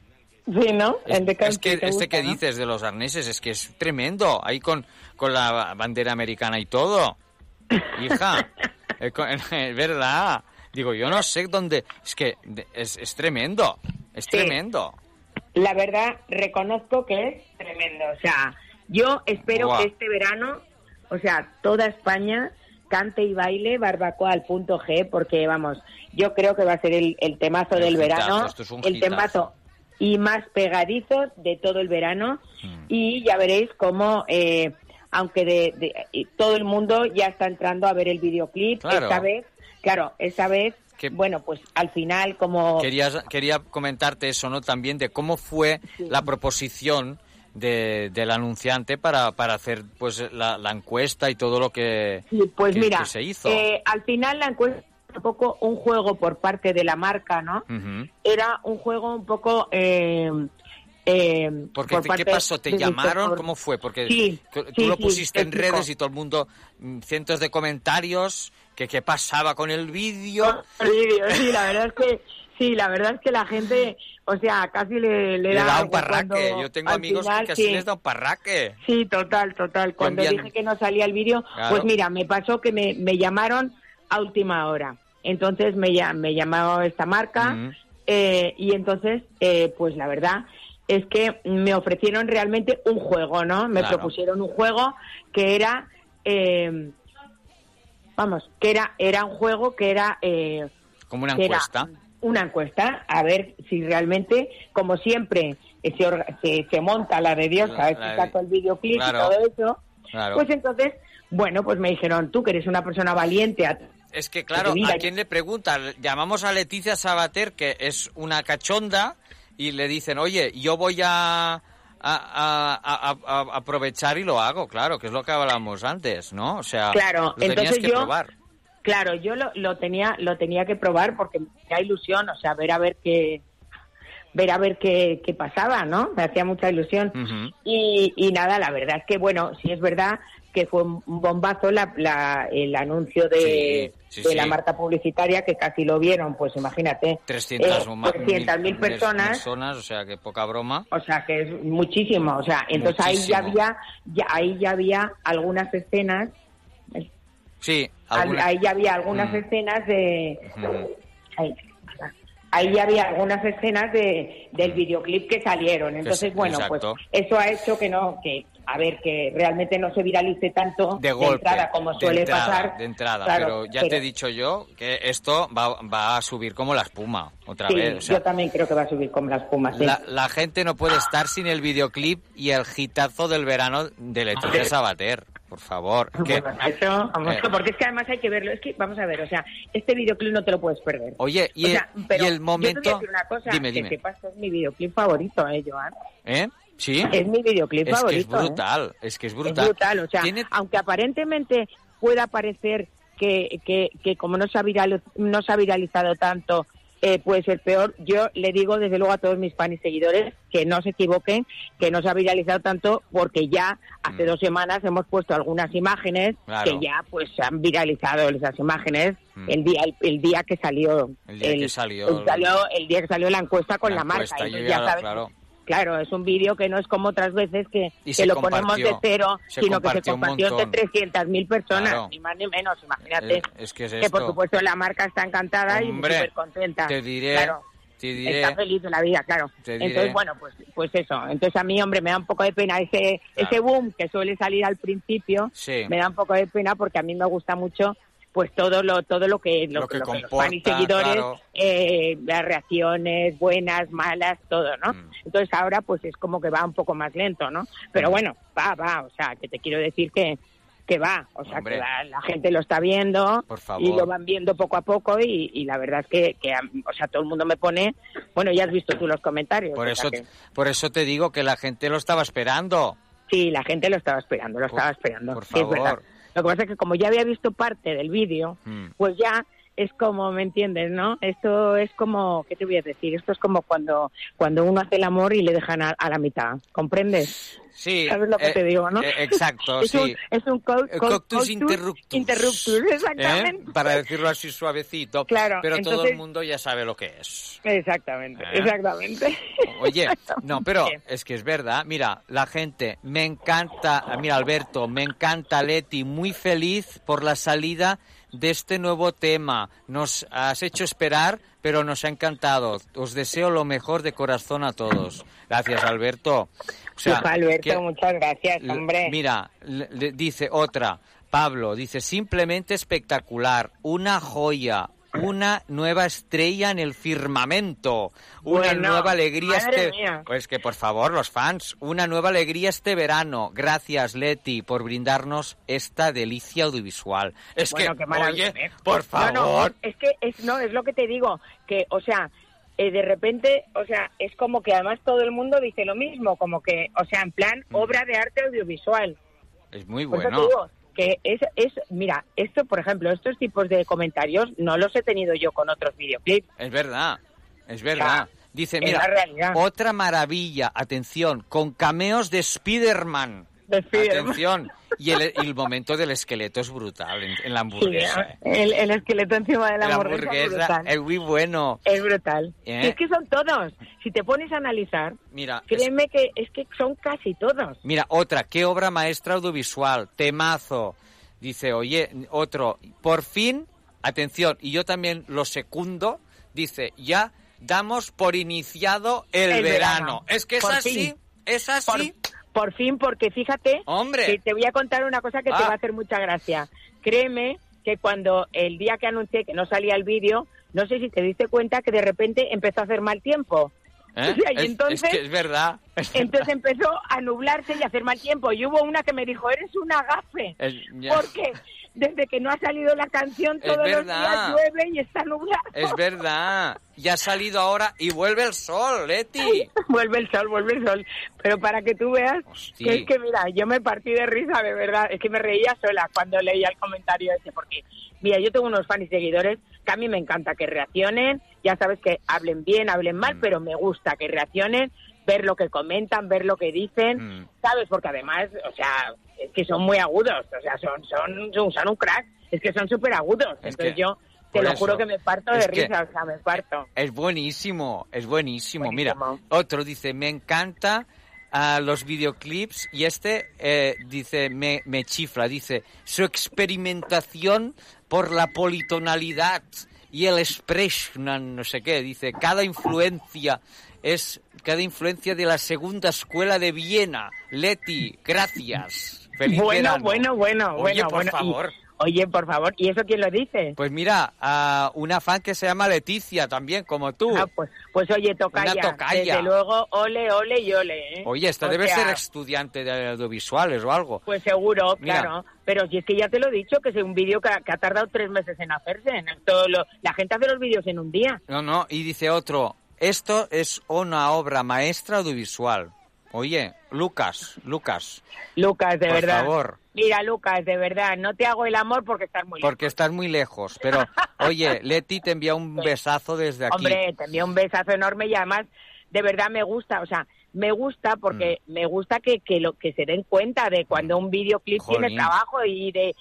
[SPEAKER 17] Sí, ¿no? El de
[SPEAKER 11] Es que
[SPEAKER 17] country, ¿te
[SPEAKER 11] este
[SPEAKER 17] gusta,
[SPEAKER 11] que
[SPEAKER 17] no?
[SPEAKER 11] dices de los arneses es que es tremendo. Ahí con, con la bandera americana y todo. Hija, eh, con- es verdad. Digo, yo no sé dónde. Es que de- es, es tremendo. Es tremendo.
[SPEAKER 17] La verdad, reconozco que es tremendo. O sea, yo espero
[SPEAKER 11] Buah.
[SPEAKER 17] que este verano, o sea, toda España cante y baile barbacoa al punto G, porque vamos, yo creo que va a ser el, el temazo
[SPEAKER 11] El
[SPEAKER 17] del
[SPEAKER 11] hitazo,
[SPEAKER 17] verano,
[SPEAKER 11] esto es un
[SPEAKER 17] el
[SPEAKER 11] hitazo.
[SPEAKER 17] temazo y más pegadizo de todo el verano. Y ya veréis cómo, eh, aunque de, de- y todo el mundo ya está entrando a ver el videoclip,
[SPEAKER 11] Claro.
[SPEAKER 17] esta vez, claro, esta vez, bueno, pues al final, como
[SPEAKER 11] Querías- quería comentarte eso, ¿no? También de cómo fue la proposición de, del anunciante para, para hacer pues la, la encuesta y todo lo que,
[SPEAKER 17] Sí, pues
[SPEAKER 11] que-
[SPEAKER 17] mira,
[SPEAKER 11] que se hizo.
[SPEAKER 17] eh, al final la encuesta era un poco un juego por parte de la marca,
[SPEAKER 11] Mm.
[SPEAKER 17] ¿no?
[SPEAKER 11] Ujú.
[SPEAKER 17] Era un juego un poco... eh, eh,
[SPEAKER 11] Porque,
[SPEAKER 17] por
[SPEAKER 11] te-
[SPEAKER 17] parte
[SPEAKER 11] ¿Qué pasó? ¿Te
[SPEAKER 17] de nuestro-
[SPEAKER 11] llamaron? ¿Cómo fue? Porque
[SPEAKER 17] Sí,
[SPEAKER 11] tú
[SPEAKER 17] sí,
[SPEAKER 11] lo
[SPEAKER 17] sí,
[SPEAKER 11] pusiste
[SPEAKER 17] te
[SPEAKER 11] en redes
[SPEAKER 17] explico.
[SPEAKER 11] y todo el mundo, mm, cientos de comentarios, que qué pasaba con el vídeo.
[SPEAKER 17] El vídeo, sí, la verdad es que... Sí, la verdad es que la gente, o sea, casi le, le,
[SPEAKER 11] Le da un
[SPEAKER 17] algo
[SPEAKER 11] parraque.
[SPEAKER 17] cuando
[SPEAKER 11] Yo tengo
[SPEAKER 17] al
[SPEAKER 11] amigos
[SPEAKER 17] final,
[SPEAKER 11] que así
[SPEAKER 17] sí.
[SPEAKER 11] les da un parraque.
[SPEAKER 17] Sí, total, total. Cuando
[SPEAKER 11] Cambian-
[SPEAKER 17] dije que no salía el vídeo,
[SPEAKER 11] Claro.
[SPEAKER 17] pues mira, me pasó que me, me llamaron a última hora. Entonces me, llam- me llamó esta marca eh, y entonces, eh, pues la verdad es que me ofrecieron realmente un juego, ¿no? Me
[SPEAKER 3] Claro.
[SPEAKER 17] propusieron un juego que era, eh, vamos, que era, era un juego que era... eh,
[SPEAKER 11] Como una
[SPEAKER 17] que era
[SPEAKER 11] encuesta.
[SPEAKER 17] una encuesta a ver si realmente, como siempre, eh, se, orga- se, se monta la de Dios,
[SPEAKER 11] La-
[SPEAKER 17] a ver
[SPEAKER 11] la de-
[SPEAKER 17] si saco el videoclip
[SPEAKER 11] Claro.
[SPEAKER 17] y todo eso.
[SPEAKER 11] Claro.
[SPEAKER 17] Pues entonces, bueno, pues me dijeron, tú que eres una persona valiente, a-
[SPEAKER 11] Es que claro,
[SPEAKER 17] Mira,
[SPEAKER 11] ¿a quién le preguntan? Llamamos a Leticia Sabater, que es una cachonda, y le dicen, oye, yo voy a, a- a- a- a- a aprovechar y lo hago, claro, que es lo que hablábamos antes, ¿no? O sea,
[SPEAKER 17] Claro,
[SPEAKER 11] lo tenías
[SPEAKER 17] entonces
[SPEAKER 11] que
[SPEAKER 17] yo- eh,
[SPEAKER 11] probar.
[SPEAKER 17] claro, yo lo, lo tenía lo tenía que probar porque me da ilusión, o sea, ver a ver qué ver a ver qué, qué pasaba, ¿no? Me hacía mucha ilusión.
[SPEAKER 11] Mm,
[SPEAKER 17] Y, y nada, la verdad es que, bueno, sí es verdad que fue un bombazo la, la- el anuncio de,
[SPEAKER 11] Sí, sí,
[SPEAKER 17] de
[SPEAKER 11] sí.
[SPEAKER 17] la marca publicitaria, que casi lo vieron, pues imagínate.
[SPEAKER 11] 300
[SPEAKER 17] eh,
[SPEAKER 11] o ma-
[SPEAKER 17] 300.000
[SPEAKER 11] mil-
[SPEAKER 17] personas.
[SPEAKER 11] personas, o sea, que poca broma.
[SPEAKER 17] O sea, que es muchísimo. O sea, entonces ahí ya
[SPEAKER 11] Muchísimo.
[SPEAKER 17] había, ya, ahí ya había algunas escenas
[SPEAKER 11] Sí, Alguna-
[SPEAKER 17] Ahí ya había algunas
[SPEAKER 11] Mm.
[SPEAKER 17] escenas de...
[SPEAKER 11] Mm.
[SPEAKER 17] Ahí, ahí ya había algunas escenas de, del videoclip que salieron. Entonces,
[SPEAKER 11] es-
[SPEAKER 17] bueno,
[SPEAKER 11] Mm. exacto.
[SPEAKER 17] pues eso ha hecho que no, que a ver, que realmente no se viralice tanto
[SPEAKER 11] de golpe,
[SPEAKER 17] entrada como
[SPEAKER 11] de
[SPEAKER 17] suele
[SPEAKER 11] entrada,
[SPEAKER 17] pasar.
[SPEAKER 11] De entrada,
[SPEAKER 17] Claro,
[SPEAKER 11] pero ya te he
[SPEAKER 17] pero-
[SPEAKER 11] dicho yo que esto va, va a subir como la espuma otra
[SPEAKER 17] Sí,
[SPEAKER 11] vez. o sea,
[SPEAKER 17] yo también creo que va a subir como las pumas. sí.
[SPEAKER 11] la, la gente no puede estar sin el videoclip y el hitazo del verano de Leticia Sabater, por favor. Que-
[SPEAKER 17] Eso, vamos,
[SPEAKER 11] Eh.
[SPEAKER 17] porque es que además hay que verlo. Es que, vamos a ver, o sea, este videoclip no te lo puedes perder.
[SPEAKER 11] Oye, y,
[SPEAKER 17] O sea,
[SPEAKER 11] el,
[SPEAKER 17] pero
[SPEAKER 11] y el
[SPEAKER 17] yo te voy a
[SPEAKER 11] momento...
[SPEAKER 17] decir una cosa,
[SPEAKER 11] dime,
[SPEAKER 17] que
[SPEAKER 11] dime.
[SPEAKER 17] sepas que es mi videoclip favorito, ¿eh, Joan?
[SPEAKER 11] ¿Eh? ¿Sí?
[SPEAKER 17] Es mi videoclip
[SPEAKER 11] Es que es
[SPEAKER 17] favorito, ¿eh?
[SPEAKER 11] brutal, es que es
[SPEAKER 17] Es
[SPEAKER 11] brutal.
[SPEAKER 17] brutal, o sea,
[SPEAKER 11] Tiene-
[SPEAKER 17] aunque aparentemente pueda parecer que, que, que como no se, ha viral- no se ha viralizado tanto, eh, puede ser peor, yo le digo desde luego a todos mis fans y seguidores que no se equivoquen, que no se ha viralizado tanto porque ya hace dos semanas hemos puesto algunas imágenes
[SPEAKER 11] Mm. Claro. Mm.
[SPEAKER 17] que ya pues se han viralizado esas imágenes el día el, día que salió
[SPEAKER 11] El día que salió
[SPEAKER 17] el, salió- el día que salió la encuesta con la,
[SPEAKER 11] encuesta,
[SPEAKER 17] marca
[SPEAKER 11] yo
[SPEAKER 17] entonces
[SPEAKER 11] ya
[SPEAKER 17] ya
[SPEAKER 11] lo-
[SPEAKER 17] sabes
[SPEAKER 11] claro.
[SPEAKER 17] Claro, es un vídeo que no es como otras veces que,
[SPEAKER 11] Y
[SPEAKER 17] que
[SPEAKER 11] se
[SPEAKER 17] lo ponemos de
[SPEAKER 11] compartió,
[SPEAKER 17] cero,
[SPEAKER 11] se
[SPEAKER 17] sino que se
[SPEAKER 11] compartió un
[SPEAKER 17] compartió entre
[SPEAKER 11] montón.
[SPEAKER 17] 300.000 personas,
[SPEAKER 11] Claro. Eh,
[SPEAKER 17] ni más ni menos, imagínate.
[SPEAKER 11] Es- es que es
[SPEAKER 17] Que por
[SPEAKER 11] esto.
[SPEAKER 17] supuesto la marca está encantada
[SPEAKER 11] Hombre,
[SPEAKER 17] y súper contenta.
[SPEAKER 11] te diré,
[SPEAKER 17] Claro,
[SPEAKER 11] te diré...
[SPEAKER 17] está feliz de la vida, claro.
[SPEAKER 11] Te diré.
[SPEAKER 17] Entonces, bueno, pues pues eso. Entonces a mí, hombre, me da un poco de pena ese
[SPEAKER 11] Claro.
[SPEAKER 17] ese boom que suele salir al principio.
[SPEAKER 11] Sí.
[SPEAKER 17] Me da un poco de pena porque a mí me gusta mucho pues todo lo todo lo que lo,
[SPEAKER 11] Lo que
[SPEAKER 17] lo los
[SPEAKER 11] comporta,
[SPEAKER 17] fans y seguidores
[SPEAKER 11] claro.
[SPEAKER 17] eh, las reacciones buenas malas todo no
[SPEAKER 11] Mm.
[SPEAKER 17] entonces ahora pues es como que va un poco más lento no
[SPEAKER 11] Mm.
[SPEAKER 17] pero bueno va va o sea que te quiero decir que que va o sea
[SPEAKER 11] Hombre.
[SPEAKER 17] que la, la gente lo está viendo
[SPEAKER 11] Por favor.
[SPEAKER 17] y lo van viendo poco a poco y, y la verdad es que, que a- o sea todo el mundo me pone bueno ya has visto tú los comentarios
[SPEAKER 11] Por
[SPEAKER 17] o sea
[SPEAKER 11] eso,
[SPEAKER 17] que-
[SPEAKER 11] por eso te digo que la gente lo estaba esperando.
[SPEAKER 17] Sí, la gente lo estaba esperando, lo estaba esperando.
[SPEAKER 11] por
[SPEAKER 17] sí, es verdad.
[SPEAKER 11] favor.
[SPEAKER 17] Lo que pasa es que como ya había visto parte del vídeo,
[SPEAKER 11] Mm.
[SPEAKER 17] pues ya es como, ¿me entiendes, no? Esto es como, ¿qué te voy a decir? Esto es como cuando cuando uno hace el amor y le dejan a, a la mitad, ¿comprendes?
[SPEAKER 11] Sí.
[SPEAKER 17] ¿Sabes lo que
[SPEAKER 11] eh,
[SPEAKER 17] te digo, no?
[SPEAKER 11] eh, exacto,
[SPEAKER 17] es
[SPEAKER 11] sí.
[SPEAKER 17] Un, es un co-
[SPEAKER 11] Eh,
[SPEAKER 17] co-
[SPEAKER 11] coctus interruptus.
[SPEAKER 17] interruptus, exactamente.
[SPEAKER 11] ¿Eh? Para decirlo así suavecito.
[SPEAKER 17] Claro,
[SPEAKER 11] Pero todo el
[SPEAKER 17] entonces-
[SPEAKER 11] mundo ya sabe lo que es.
[SPEAKER 17] Exactamente,
[SPEAKER 11] ¿Eh?
[SPEAKER 17] exactamente.
[SPEAKER 11] Oye, no, pero es que es verdad. Mira, la gente, me encanta, mira Alberto, me encanta Leti, muy feliz por la salida de este nuevo tema. Nos has hecho esperar, pero nos ha encantado. Os deseo lo mejor de corazón a todos. Gracias, Alberto. O sea,
[SPEAKER 17] Ufa, Alberto,
[SPEAKER 11] que-
[SPEAKER 17] muchas gracias,
[SPEAKER 11] L-
[SPEAKER 17] hombre.
[SPEAKER 11] Mira, le- le dice otra, Pablo, dice, simplemente espectacular, una joya, una nueva estrella en el firmamento, una
[SPEAKER 17] Bueno,
[SPEAKER 11] nueva alegría
[SPEAKER 17] madre
[SPEAKER 11] este...
[SPEAKER 17] mía.
[SPEAKER 11] Pues que por favor, los fans, una nueva alegría este verano. Gracias, Leti, por brindarnos esta delicia audiovisual. Es
[SPEAKER 17] Bueno,
[SPEAKER 11] que,
[SPEAKER 17] qué maravilla,
[SPEAKER 11] oye,
[SPEAKER 17] ¿eh?
[SPEAKER 11] por
[SPEAKER 17] No,
[SPEAKER 11] favor...
[SPEAKER 17] no, es que es, no, es lo que te digo, que, o sea, eh, de repente, o sea, es como que además todo el mundo dice lo mismo, como que, o sea, en plan, obra de arte audiovisual.
[SPEAKER 11] Es Mm. muy
[SPEAKER 17] Por eso
[SPEAKER 11] bueno.
[SPEAKER 17] te digo que es, es, mira, esto, por ejemplo, estos tipos de comentarios no los he tenido yo con otros videoclips.
[SPEAKER 11] Es verdad, es verdad. Dice,
[SPEAKER 17] es
[SPEAKER 11] mira,
[SPEAKER 17] la realidad.
[SPEAKER 11] otra maravilla, atención, con cameos de Spider-Man.
[SPEAKER 17] Spiderman.
[SPEAKER 11] Atención. Y el, y el momento del esqueleto es brutal en, en la hamburguesa. ¿eh?
[SPEAKER 17] el, el esqueleto encima de la,
[SPEAKER 11] la
[SPEAKER 17] hamburguesa es
[SPEAKER 11] hamburguesa
[SPEAKER 17] brutal.
[SPEAKER 11] es muy bueno.
[SPEAKER 17] Es brutal.
[SPEAKER 11] ¿Eh?
[SPEAKER 17] Y es que son todos. Si te pones a analizar,
[SPEAKER 11] Mira, es-
[SPEAKER 17] créeme que es que son casi todos.
[SPEAKER 11] Mira, otra, qué obra maestra audiovisual, temazo. Dice, oye, otro, por fin, atención, y yo también lo secundo, dice, ya damos por iniciado el,
[SPEAKER 17] El
[SPEAKER 11] verano.
[SPEAKER 17] verano.
[SPEAKER 11] Es que es
[SPEAKER 17] Por
[SPEAKER 11] así,
[SPEAKER 17] fin.
[SPEAKER 11] es así.
[SPEAKER 17] Por fin, porque fíjate,
[SPEAKER 11] Hombre.
[SPEAKER 17] que te voy a contar una cosa que
[SPEAKER 11] Ah.
[SPEAKER 17] te va a hacer mucha gracia. Créeme que cuando el día que anuncié que no salía el vídeo, no sé si te diste cuenta que de repente empezó a hacer mal tiempo.
[SPEAKER 11] ¿eh?
[SPEAKER 17] O sea, y
[SPEAKER 11] Es-
[SPEAKER 17] entonces-
[SPEAKER 11] es que es verdad.
[SPEAKER 17] Entonces empezó a nublarse y a hacer mal tiempo. Y hubo una que me dijo, eres un agafe.
[SPEAKER 11] Es- Eh, ya.
[SPEAKER 17] Porque desde que no ha salido la canción,
[SPEAKER 11] Es
[SPEAKER 17] todos los
[SPEAKER 11] verdad.
[SPEAKER 17] días llueve y está nublado.
[SPEAKER 11] Es verdad. Ya ha salido ahora y vuelve el sol, Leti.
[SPEAKER 17] Vuelve el sol, vuelve el sol. Pero para que tú veas,
[SPEAKER 11] Hostia.
[SPEAKER 17] que es que mira, yo me partí de risa, de verdad. Es que me reía sola cuando leía el comentario ese, porque mira, yo tengo unos fans y seguidores que a mí me encanta que reaccionen. Ya sabes que hablen bien, hablen mal,
[SPEAKER 11] Mm.
[SPEAKER 17] pero me gusta que reaccionen, ver lo que comentan, ver lo que dicen,
[SPEAKER 11] Mm.
[SPEAKER 17] ¿sabes? Porque además, o sea, es que son muy agudos, o sea, son, son, son, son un crack, es que son súper agudos.
[SPEAKER 11] Es
[SPEAKER 17] Entonces
[SPEAKER 11] que-
[SPEAKER 17] yo te
[SPEAKER 11] por
[SPEAKER 17] lo
[SPEAKER 11] eso.
[SPEAKER 17] juro que me parto
[SPEAKER 11] Es
[SPEAKER 17] de
[SPEAKER 11] que-
[SPEAKER 17] risa, o sea, me parto.
[SPEAKER 11] Es buenísimo, es buenísimo. Mira, otro dice, me encanta a los videoclips y este eh, dice, me, me chifla, dice, su experimentación por la politonalidad y el expression, no sé qué, dice, cada influencia es cada influencia de la segunda escuela de Viena. Leti, gracias. Feliz
[SPEAKER 17] bueno,
[SPEAKER 11] verano.
[SPEAKER 17] bueno, bueno,
[SPEAKER 11] Oye,
[SPEAKER 17] bueno,
[SPEAKER 11] por
[SPEAKER 17] bueno. Y-
[SPEAKER 11] favor.
[SPEAKER 17] oye, por favor, ¿y eso quién lo dice?
[SPEAKER 11] Pues mira, a una fan que se llama Leticia también, como tú.
[SPEAKER 17] Pues oye, tocaya.
[SPEAKER 11] Una tocaya.
[SPEAKER 17] Desde luego, ole, ole y ole. ¿eh?
[SPEAKER 11] Oye, esta
[SPEAKER 17] O
[SPEAKER 11] debe
[SPEAKER 17] sea,
[SPEAKER 11] ser estudiante de audiovisuales o algo.
[SPEAKER 17] Pues seguro,
[SPEAKER 11] Mira.
[SPEAKER 17] claro. Pero si es que ya te lo he dicho, que es un vídeo que, ha- que ha tardado tres meses en hacerse. ¿no? Todo lo- la gente hace los vídeos en un día.
[SPEAKER 11] No, no, y dice otro, esto es una obra maestra audiovisual. Oye, Lucas, Lucas.
[SPEAKER 17] Lucas, de
[SPEAKER 11] por
[SPEAKER 17] verdad.
[SPEAKER 11] favor,
[SPEAKER 17] Mira, Lucas, de verdad, no te hago el amor porque estás muy lejos.
[SPEAKER 11] porque estás muy lejos. Pero, oye, Leti te envía un besazo desde aquí.
[SPEAKER 17] Hombre, te envío un besazo enorme y además, de verdad me gusta, o sea, me gusta porque
[SPEAKER 11] Mm.
[SPEAKER 17] me gusta que, que, lo, que se den cuenta de cuando un videoclip
[SPEAKER 11] Jolín.
[SPEAKER 17] tiene trabajo y de...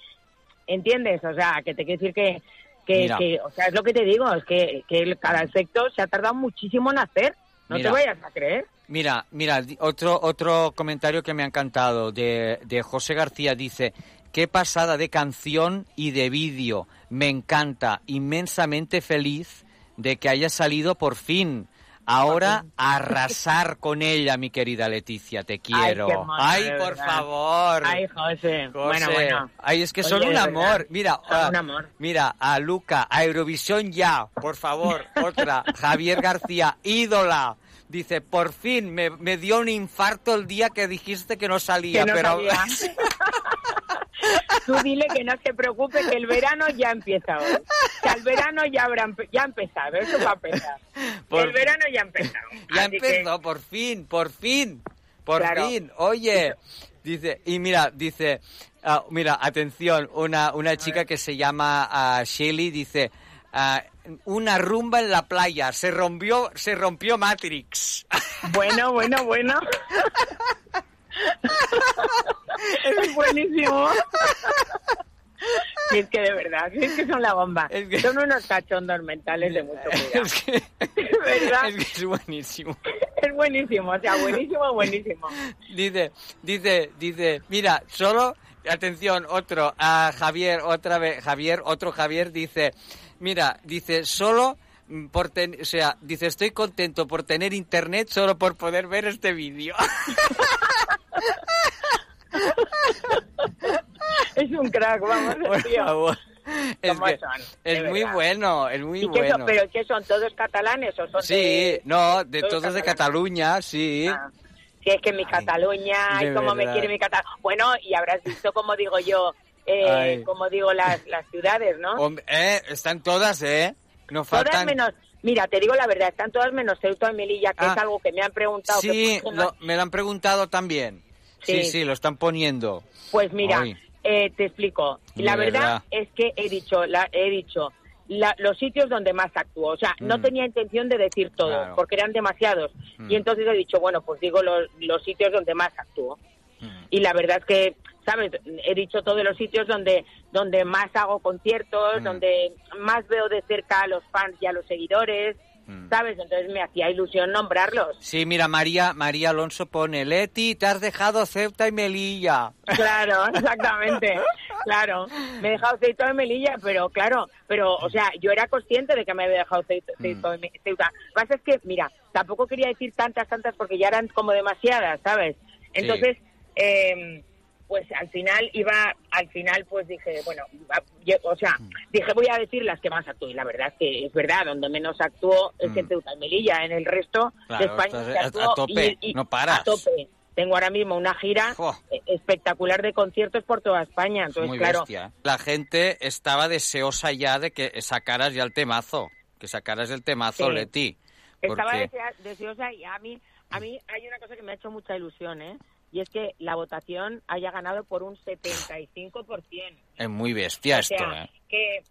[SPEAKER 17] ¿Entiendes? O sea, que te quiero decir que... Que,
[SPEAKER 11] Mira.
[SPEAKER 17] que- o sea, es lo que te digo, es que, que el- cada sector se ha tardado muchísimo en hacer. No
[SPEAKER 11] Mira.
[SPEAKER 17] te vayas a creer.
[SPEAKER 11] Mira, mira, di- otro, otro comentario que me ha encantado de, de José García dice, qué pasada de canción y de vídeo, me encanta, inmensamente feliz de que haya salido por fin. Ahora a arrasar con ella, mi querida Leticia, te quiero.
[SPEAKER 17] qué mono,
[SPEAKER 11] Ay,
[SPEAKER 17] de
[SPEAKER 11] por
[SPEAKER 17] verdad.
[SPEAKER 11] favor.
[SPEAKER 17] Ay, José.
[SPEAKER 11] José.
[SPEAKER 17] Bueno, bueno.
[SPEAKER 11] Ay, es que son
[SPEAKER 17] Oye,
[SPEAKER 11] un
[SPEAKER 17] de
[SPEAKER 11] amor.
[SPEAKER 17] verdad,
[SPEAKER 11] Mira,
[SPEAKER 17] son
[SPEAKER 11] ah,
[SPEAKER 17] un amor.
[SPEAKER 11] mira, a Luca, a Eurovisión ya, por favor, otra. Javier García, ídola. Dice, por fin me, me dio un infarto el día que dijiste que no salía,
[SPEAKER 17] Que no
[SPEAKER 11] pero
[SPEAKER 17] sabía. Tú dile que no se preocupe, que el verano ya empieza hoy. Que el verano ya, habrá, empe- ya ha empezado, eso va a empezar.
[SPEAKER 11] Por-
[SPEAKER 17] El verano ya ha empezado.
[SPEAKER 11] ya
[SPEAKER 17] Así
[SPEAKER 11] empezó, por fin, por fin, por
[SPEAKER 17] Claro.
[SPEAKER 11] fin. Oye, dice, y mira, dice, ah, mira, atención, una, una chica que se llama ah, Shelly dice, ah, una rumba en la playa, se rompió, se rompió Matrix.
[SPEAKER 17] que, Bueno, bueno, bueno. es buenísimo. Sí, es que de verdad, sí, es que son la bomba. Son unos cachondos mentales de mucho cuidado.
[SPEAKER 11] Es que,
[SPEAKER 17] ¿Verdad?
[SPEAKER 11] es que es buenísimo.
[SPEAKER 17] Es buenísimo, o sea, buenísimo, buenísimo.
[SPEAKER 11] Dice, dice, dice, mira, solo, atención, otro, a Javier, otra vez, Javier, otro Javier dice, mira, dice, solo mm, por ten- o sea, dice, estoy contento por tener internet solo por poder ver este vídeo.
[SPEAKER 17] Es un crack, vamos,
[SPEAKER 11] Por
[SPEAKER 17] tío.
[SPEAKER 11] favor. Es,
[SPEAKER 17] ¿Cómo
[SPEAKER 11] que
[SPEAKER 17] son?
[SPEAKER 11] es
[SPEAKER 17] De
[SPEAKER 11] muy
[SPEAKER 17] verdad.
[SPEAKER 11] bueno, es muy
[SPEAKER 17] ¿Y qué son,
[SPEAKER 11] bueno.
[SPEAKER 17] ¿Pero qué son? ¿Todos catalanes o son
[SPEAKER 11] Sí,
[SPEAKER 17] de-
[SPEAKER 11] no, de
[SPEAKER 17] todos
[SPEAKER 11] todos de
[SPEAKER 17] catalanes?
[SPEAKER 11] Cataluña, sí.
[SPEAKER 17] Ah. Si es que mi Cataluña,
[SPEAKER 11] de
[SPEAKER 17] ay, cómo me
[SPEAKER 11] verdad.
[SPEAKER 17] quiere mi Cataluña. Bueno, y habrás visto cómo digo yo, eh,
[SPEAKER 11] Ay.
[SPEAKER 17] cómo digo las, las ciudades, ¿no?
[SPEAKER 11] Hombre, eh, están todas, ¿eh? No faltan.
[SPEAKER 17] todas menos, mira, te digo la verdad, están todas menos Ceuta y Melilla, que
[SPEAKER 11] Ah.
[SPEAKER 17] es algo que me han preguntado. que
[SPEAKER 11] Sí,
[SPEAKER 17] por qué no-
[SPEAKER 11] lo- me lo han preguntado también.
[SPEAKER 17] Sí.
[SPEAKER 11] Sí, sí, lo están poniendo.
[SPEAKER 17] Pues mira,
[SPEAKER 11] Ay.
[SPEAKER 17] eh, te explico. La
[SPEAKER 11] De
[SPEAKER 17] verdad,
[SPEAKER 11] verdad.
[SPEAKER 17] es que he dicho, la, he dicho la- los sitios donde más actuó. O sea, no
[SPEAKER 11] Mm.
[SPEAKER 17] tenía intención de decir todo,
[SPEAKER 11] Claro.
[SPEAKER 17] porque eran demasiados.
[SPEAKER 11] Mm.
[SPEAKER 17] Y entonces he dicho, bueno, pues digo los, los sitios donde más actuó. Y la verdad es que, ¿sabes? He dicho todos los sitios donde, donde más hago conciertos,
[SPEAKER 11] Mm.
[SPEAKER 17] donde más veo de cerca a los fans y a los seguidores, ¿sabes? Entonces me hacía ilusión nombrarlos.
[SPEAKER 11] Sí, mira, María, María Alonso pone, Leti, te has dejado Ceuta y Melilla.
[SPEAKER 17] Claro, exactamente. Claro, me he dejado Ceuta de Melilla, pero claro, pero o sea, yo era consciente de que me había dejado Ceuta,
[SPEAKER 11] Mm.
[SPEAKER 17] Ceuta de Me- Ceuta. Lo que pasa es que, mira, tampoco quería decir tantas, tantas porque ya eran como demasiadas, ¿sabes? Entonces, eh, pues al final iba, al final pues dije, bueno, va- yo- o sea,
[SPEAKER 11] Mm.
[SPEAKER 17] dije voy a decir las que más actué. Y La verdad es que es verdad, donde menos actuó es en
[SPEAKER 11] Mm.
[SPEAKER 17] Ceuta y Melilla, en el resto
[SPEAKER 11] Claro,
[SPEAKER 17] de España.
[SPEAKER 11] estás
[SPEAKER 17] se
[SPEAKER 11] a- a
[SPEAKER 17] actuó
[SPEAKER 11] tope, no paras.
[SPEAKER 17] A tope. Tengo ahora mismo una gira
[SPEAKER 11] Jo.
[SPEAKER 17] eh, espectacular de conciertos por toda España. Entonces,
[SPEAKER 11] Muy
[SPEAKER 17] pues, claro,
[SPEAKER 11] bestia. ¿eh? La gente estaba deseosa ya de que sacaras ya el temazo, que sacaras el temazo,
[SPEAKER 17] Sí.
[SPEAKER 11] Leti.
[SPEAKER 17] estaba
[SPEAKER 11] Porque-
[SPEAKER 17] desea- deseosa y a mí, a mí hay una cosa que me ha hecho mucha ilusión, ¿eh? Y es que la votación haya ganado por un 75%.
[SPEAKER 11] es muy bestia
[SPEAKER 17] O sea,
[SPEAKER 11] esto, ¿eh?
[SPEAKER 17] que,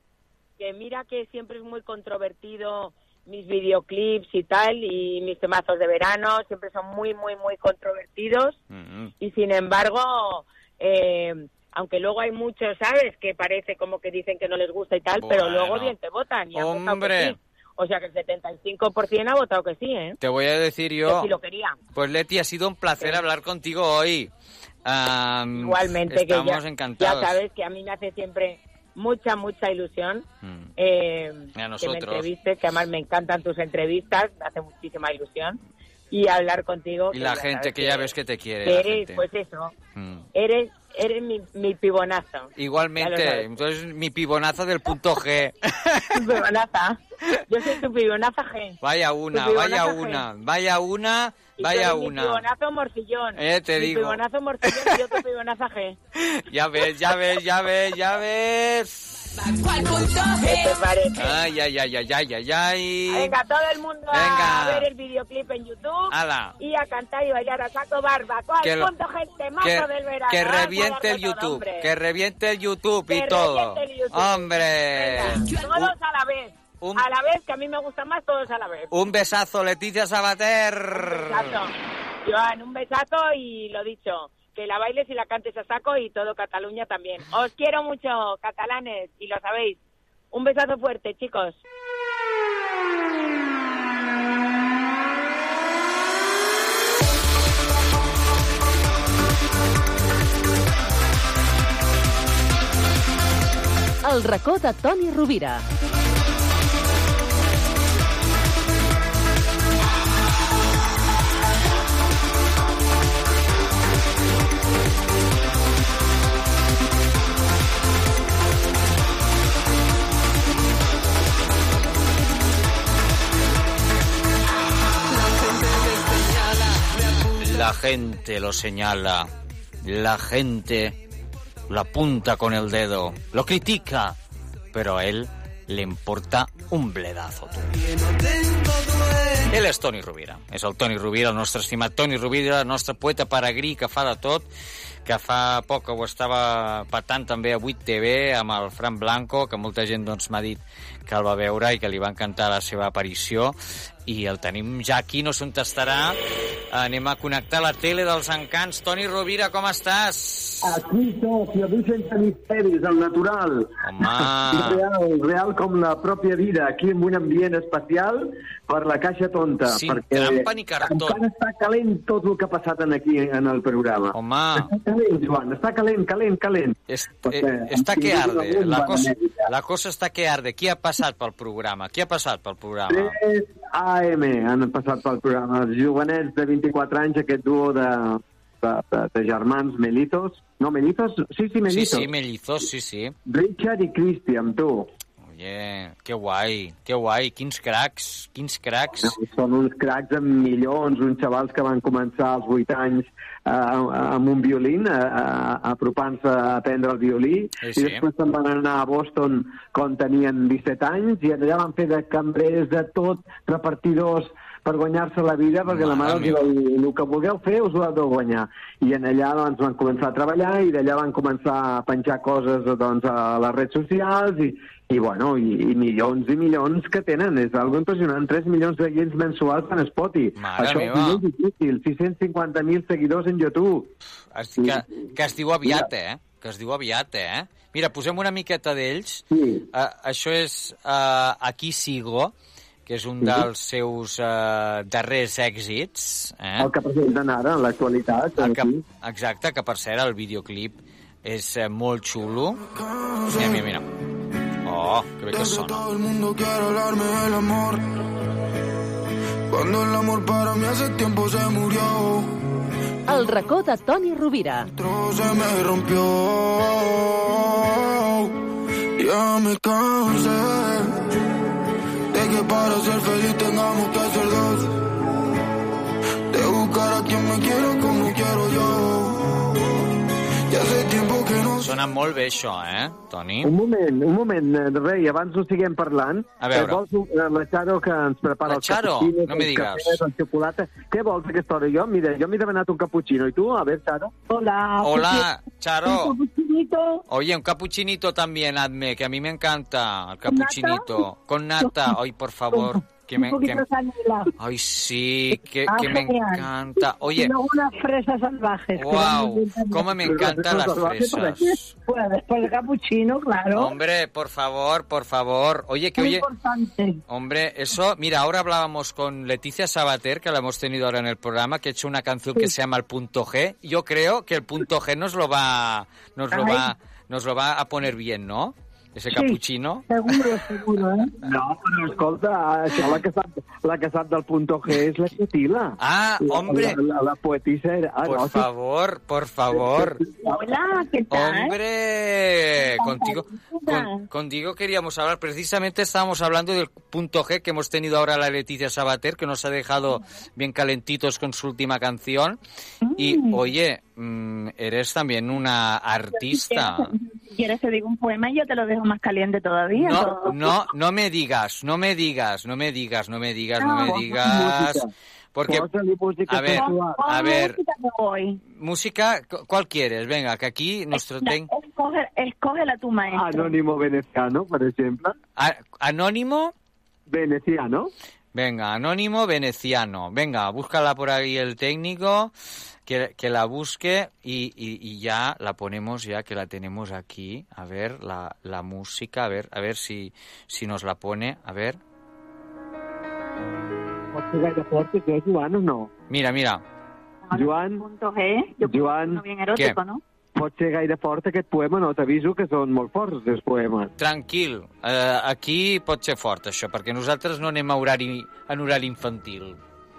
[SPEAKER 17] que mira que siempre es muy controvertido mis videoclips y tal, y mis temazos de verano, siempre son muy, muy, muy controvertidos.
[SPEAKER 11] Mm.
[SPEAKER 17] Y sin embargo, eh, aunque luego hay muchos, ¿sabes? Que parece como que dicen que no les gusta y tal, pero
[SPEAKER 11] Bueno.
[SPEAKER 17] luego bien te votan. Y han votado que
[SPEAKER 11] Hombre.
[SPEAKER 17] sí. O sea que el 75% ha votado que sí, ¿eh?
[SPEAKER 11] Te voy a decir
[SPEAKER 17] Que
[SPEAKER 11] yo.
[SPEAKER 17] sí lo quería.
[SPEAKER 11] Pues Leti, ha sido un placer hablar contigo hoy. Am,
[SPEAKER 17] Igualmente, que
[SPEAKER 11] estamos
[SPEAKER 17] ya,
[SPEAKER 11] encantados.
[SPEAKER 17] ya sabes que a mí me hace siempre mucha, mucha ilusión
[SPEAKER 11] Mm.
[SPEAKER 17] eh,
[SPEAKER 11] Y a
[SPEAKER 17] que me
[SPEAKER 11] nosotros.
[SPEAKER 17] entrevistes, que además me encantan tus entrevistas, me hace muchísima ilusión. Y hablar contigo.
[SPEAKER 11] Y la
[SPEAKER 17] ya
[SPEAKER 11] gente
[SPEAKER 17] sabes
[SPEAKER 11] que ya ves que te quiere.
[SPEAKER 17] que
[SPEAKER 11] la
[SPEAKER 17] eres,
[SPEAKER 11] gente.
[SPEAKER 17] pues eso,
[SPEAKER 11] Mm.
[SPEAKER 17] eres, eres mi, mi pibonazo. Ya lo
[SPEAKER 11] Igualmente,
[SPEAKER 17] sabes.
[SPEAKER 11] entonces mi pibonaza del punto G.
[SPEAKER 17] Tu pibonaza. Yo soy tu pibonaza G.
[SPEAKER 11] Vaya una,
[SPEAKER 17] Tu
[SPEAKER 11] vaya
[SPEAKER 17] pibonaza,
[SPEAKER 11] una, vaya una,
[SPEAKER 17] Y tú
[SPEAKER 11] vaya
[SPEAKER 17] eres Mi
[SPEAKER 11] una.
[SPEAKER 17] pibonazo morcillón.
[SPEAKER 11] Eh, te
[SPEAKER 17] mi
[SPEAKER 11] digo.
[SPEAKER 17] pibonazo morcillón y yo tu pibonaza G.
[SPEAKER 11] Ya ves, ya ves, ya ves, ya ves.
[SPEAKER 17] ¿Qué te parece?
[SPEAKER 11] Ay, ay, ay, ay, ay, ay, ay.
[SPEAKER 17] Este Venga, todo el mundo
[SPEAKER 11] Venga.
[SPEAKER 17] a ver el videoclip en YouTube.
[SPEAKER 11] Ala.
[SPEAKER 17] Y a cantar y bailar a saco barbacoa.
[SPEAKER 11] Que
[SPEAKER 17] al
[SPEAKER 11] lo-
[SPEAKER 17] fondo, gente, mazo
[SPEAKER 11] Que,
[SPEAKER 17] del verano. ¿eh?
[SPEAKER 11] que
[SPEAKER 17] Vamos a
[SPEAKER 11] reviente el
[SPEAKER 17] darlo todo,
[SPEAKER 11] YouTube,
[SPEAKER 17] hombre.
[SPEAKER 11] que reviente el YouTube
[SPEAKER 17] Que
[SPEAKER 11] y todo.
[SPEAKER 17] reviente el YouTube.
[SPEAKER 11] Hombre.
[SPEAKER 17] Venga, Todos a la vez.
[SPEAKER 11] un-
[SPEAKER 17] A la vez, que a mí me gusta más todos a la vez.
[SPEAKER 11] Un besazo, Leticia Sabater.
[SPEAKER 17] Exacto. Joan, un besazo y lo dicho. Que la bailes y la cantes a saco y todo Cataluña también. Os quiero mucho, catalanes, y lo sabéis. Un besazo fuerte, chicos.
[SPEAKER 14] El racó de Toni Rovira.
[SPEAKER 11] La gente lo señala, la gente lo apunta con el dedo, lo critica, pero a él le importa un bledazo. tú. Ell és Toni Rovira. És el Toni Rovira, el nostre estimat Toni Rovira, el nostre poeta paragrí que fa de tot, que fa poc que ho estava patant també a 8TV amb el Fran Blanco, que molta gent doncs, m'ha dit que el va veure i que li va encantar la seva aparició. I el tenim ja aquí, no se'n tastarà. Anem a connectar la tele dels encants. Toni Rovira, com estàs?
[SPEAKER 3] Aquí socio, dicen que misteris, el natural.
[SPEAKER 11] Home.
[SPEAKER 3] Real, real com la pròpia vida, aquí en un ambient especial per la caixa tonta.
[SPEAKER 11] Sin trampa ni cartó.
[SPEAKER 3] Encara està calent tot el que ha passat en aquí en el programa.
[SPEAKER 11] Home.
[SPEAKER 3] Està calent, Joan, està calent, calent, calent.
[SPEAKER 11] Es,
[SPEAKER 3] Perquè
[SPEAKER 11] eh, està
[SPEAKER 3] hem
[SPEAKER 11] que
[SPEAKER 3] tingut una
[SPEAKER 11] arde.
[SPEAKER 3] bomba
[SPEAKER 11] La cosa,
[SPEAKER 3] de mèdica.
[SPEAKER 11] la cosa està que arde. Qui ha passat pel programa? Qui ha passat pel programa?
[SPEAKER 3] 3 AM han passat pel programa. Els jovenets de 24 anys, aquest duo de, de, de, de germans Melitos. No, Melitos? Sí, sí,
[SPEAKER 11] Sí,
[SPEAKER 3] Melitos.
[SPEAKER 11] sí, Mellizos, sí, sí.
[SPEAKER 3] Richard i Cristi, amb tu.
[SPEAKER 11] Oye, que guai, que guai. Quins cracs, quins cracs.
[SPEAKER 3] Són uns cracs amb milions, uns xavals que van començar als 8 anys eh, amb un violín, eh, eh, apropant-se a aprendre el violí,
[SPEAKER 11] Sí,
[SPEAKER 3] i
[SPEAKER 11] sí.
[SPEAKER 3] després se'n van anar a Boston quan tenien 17 anys, i allà van fer de cambrers, de tot, repartidors, per guanyar-se la vida, perquè la mare els va dir, el que vulgueu fer us ho heu de guanyar. I en allà doncs, van començar a treballar i d'allà van començar a penjar coses doncs, a les redes socials i, i, bueno, i, i milions i milions que tenen. És algo impressionant. 3 milions de guions mensuals en Spotify.
[SPEAKER 11] Mare
[SPEAKER 3] Això
[SPEAKER 11] meva.
[SPEAKER 3] és molt difícil. 650.000 seguidors en YouTube.
[SPEAKER 11] Es, que, que es diu aviat, eh? Que es diu aviat, eh? Mira, posem una miqueta d'ells.
[SPEAKER 3] Sí.
[SPEAKER 11] Uh, això és uh, Aquí sigo, que és un
[SPEAKER 3] Sí.
[SPEAKER 11] dels seus uh, darrers èxits. Eh?
[SPEAKER 3] El que presenten ara, en l'actualitat.
[SPEAKER 11] El que,
[SPEAKER 3] aquí.
[SPEAKER 11] exacte, que per cert el videoclip és eh, molt xulo. Mira, mira, mira. Oh, que bé que sona.
[SPEAKER 5] Todo el mundo quiere hablarme del amor. Cuando el amor para mí hace tiempo se murió,
[SPEAKER 14] El racó de Toni Rovira.
[SPEAKER 5] todo se me rompió. Ya me cansé de que para ser feliz tengamos que ser dos. De buscar a quien me quiera como quiero yo. Ya hace tiempo que no
[SPEAKER 11] Sona molt bé això, eh, Toni?
[SPEAKER 3] Un moment, un moment, eh, Rei, abans no siguem parlant.
[SPEAKER 11] A veure.
[SPEAKER 3] Eh, Vols, eh, la Charo que ens prepara
[SPEAKER 11] La
[SPEAKER 3] els
[SPEAKER 11] Charo?
[SPEAKER 3] caputxinos,
[SPEAKER 11] No me
[SPEAKER 3] els
[SPEAKER 11] digues.
[SPEAKER 3] cafès, el xocolata... Què vols a aquesta hora? Jo, mira, jo m'he demanat un cappuccino. I tu? A veure, Charo.
[SPEAKER 13] Hola.
[SPEAKER 11] Hola, Charo.
[SPEAKER 13] Cappuccinito.
[SPEAKER 11] Oye, un capuchinito también, hazme, que a mí me encanta el capuchinito. Con nata, ay, por favor. que me,
[SPEAKER 13] un poquito
[SPEAKER 11] que-
[SPEAKER 13] de canela.
[SPEAKER 11] Ay, sí, que,
[SPEAKER 13] Ah,
[SPEAKER 11] que me
[SPEAKER 13] genial.
[SPEAKER 11] encanta.
[SPEAKER 13] Y
[SPEAKER 11] Oye,
[SPEAKER 13] luego unas fresas salvajes. que
[SPEAKER 11] Guau,
[SPEAKER 13] van muy bien también.
[SPEAKER 11] cómo me encantan las fresas.
[SPEAKER 13] Pues después del capuchino, claro.
[SPEAKER 11] hombre, por favor, por favor. Oye, que
[SPEAKER 13] Muy
[SPEAKER 11] oye...
[SPEAKER 13] importante.
[SPEAKER 11] Hombre, eso, mira, ahora hablábamos con Leticia Sabater, que la hemos tenido ahora en el programa, que ha hecho una canción que se llama El Punto G. Yo creo que el Punto G nos lo va, nos lo
[SPEAKER 13] Ay.
[SPEAKER 11] va, nos lo va a poner bien, ¿no? Ese
[SPEAKER 13] Sí.
[SPEAKER 11] capuchino.
[SPEAKER 13] Seguro, seguro, ¿eh?
[SPEAKER 3] No, però escolta, això la que sap, la que sap del punto G és la Cotila.
[SPEAKER 11] Ah, hombre.
[SPEAKER 3] La, la, la poetisa era... Ah,
[SPEAKER 11] Por
[SPEAKER 3] no, sí.
[SPEAKER 11] favor, por favor.
[SPEAKER 13] Hola, ¿qué
[SPEAKER 3] tal?
[SPEAKER 11] Hombre, contigo, con- contigo queríamos hablar. Precisamente estábamos hablando del punto G que hemos tenido ahora la Leticia Sabater, que nos ha dejado bien calentitos con su última canción. Y oye, mm, eres también una artista.
[SPEAKER 16] Si quieres te digo un poema y yo te lo dejo más caliente todavía.
[SPEAKER 11] No, no, no me digas, no me digas, no me digas, no me digas, no me
[SPEAKER 16] No.
[SPEAKER 11] digas.
[SPEAKER 16] Música.
[SPEAKER 11] Porque, a ver, a ver,
[SPEAKER 16] Voy.
[SPEAKER 11] música, cu- ¿cuál quieres? Venga, que aquí nuestro... ten-
[SPEAKER 16] Escoge, escógela
[SPEAKER 3] Ah,
[SPEAKER 16] tu maestro.
[SPEAKER 3] Anónimo veneciano, per exemple.
[SPEAKER 11] A- Ah, ¿Anónimo?
[SPEAKER 3] Veneciano.
[SPEAKER 11] Venga, anónimo veneciano. Venga, búscala por ahí el técnico, que, que la busque y, y- y ya la ponemos, ya que la tenemos aquí. A ver, la, la música, a ver, a ver si, si nos la pone. A ver,
[SPEAKER 3] Pot ser gaire fort, això, Joan, o no?
[SPEAKER 11] mira, mira.
[SPEAKER 3] Joan, Joan,
[SPEAKER 16] Bien erótico,
[SPEAKER 3] Què?
[SPEAKER 16] ¿no?
[SPEAKER 3] pot ser gaire fort aquest poema, no? T'aviso que són molt forts, els poemes.
[SPEAKER 11] Tranquil, eh, aquí pot ser fort això, perquè nosaltres no anem a horari, en horari infantil.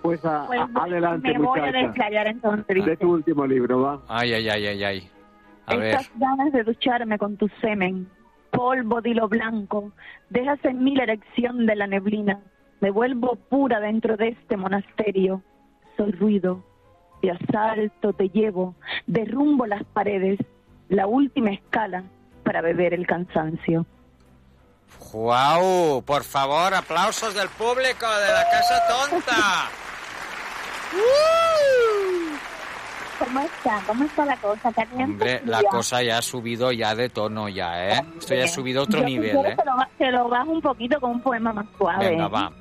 [SPEAKER 3] Pues, a,
[SPEAKER 16] Pues,
[SPEAKER 3] a- adelante,
[SPEAKER 16] me voy a
[SPEAKER 3] muchacha.
[SPEAKER 16] desplayar entonces.
[SPEAKER 3] De tu último libro, va.
[SPEAKER 11] Ay, ay, ay, ay, ay. A ver,
[SPEAKER 16] Estas ganas de ducharme con tu semen, polvo de hilo blanco, dejas en mí la erección de la neblina. Me vuelvo pura dentro de este monasterio. Soy ruido, te asalto, te llevo, derrumbo las paredes, la última escala para beber el cansancio.
[SPEAKER 11] Juau, por favor, aplausos del público de la Casa Tonta.
[SPEAKER 18] ¿Cómo está? ¿Cómo está la cosa? ¿Está bien?
[SPEAKER 11] Hombre, la
[SPEAKER 18] Ya.
[SPEAKER 11] cosa ya ha subido ya de tono ya, ¿eh? Esto ya ha subido a otro
[SPEAKER 16] Yo, si
[SPEAKER 11] nivel,
[SPEAKER 16] quieres,
[SPEAKER 11] ¿eh?
[SPEAKER 16] Te lo, ba- te lo bajo un poquito con un poema más suave. ¿eh?
[SPEAKER 11] Venga, va.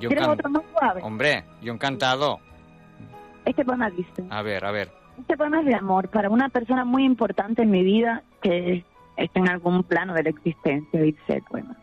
[SPEAKER 11] Yo
[SPEAKER 16] ¿Quieres
[SPEAKER 11] encan-
[SPEAKER 16] otro más suave?
[SPEAKER 11] Hombre, yo encantado.
[SPEAKER 16] Este poema dice...
[SPEAKER 11] A ver, a ver.
[SPEAKER 16] Este poema es de amor para una persona muy importante en mi vida que está en algún plano de la existencia, dice el poema.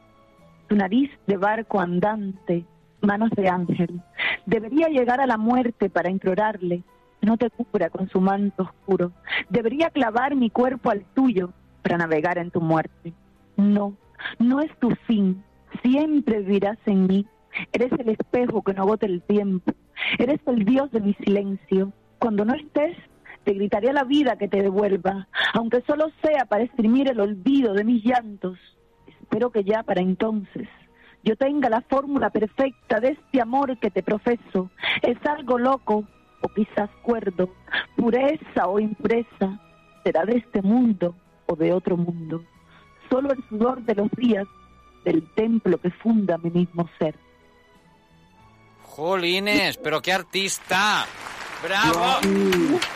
[SPEAKER 16] Tu nariz de barco andante, manos de ángel. Debería llegar a la muerte para implorarle que no te cubra con su manto oscuro. Debería clavar mi cuerpo al tuyo para navegar en tu muerte. No, no es tu fin. Siempre vivirás en mí. Eres el espejo que no agota el tiempo. Eres el Dios de mi silencio. Cuando no estés, te gritaré a la vida que te devuelva, aunque solo sea para exprimir el olvido de mis llantos. Espero que ya para entonces yo tenga la fórmula perfecta de este amor que te profeso. Es algo loco o quizás cuerdo, pureza o impureza. Será de este mundo o de otro mundo. Solo el sudor de los días del templo que funda mi mismo ser.
[SPEAKER 11] Jolines, pero qué artista. Bravo,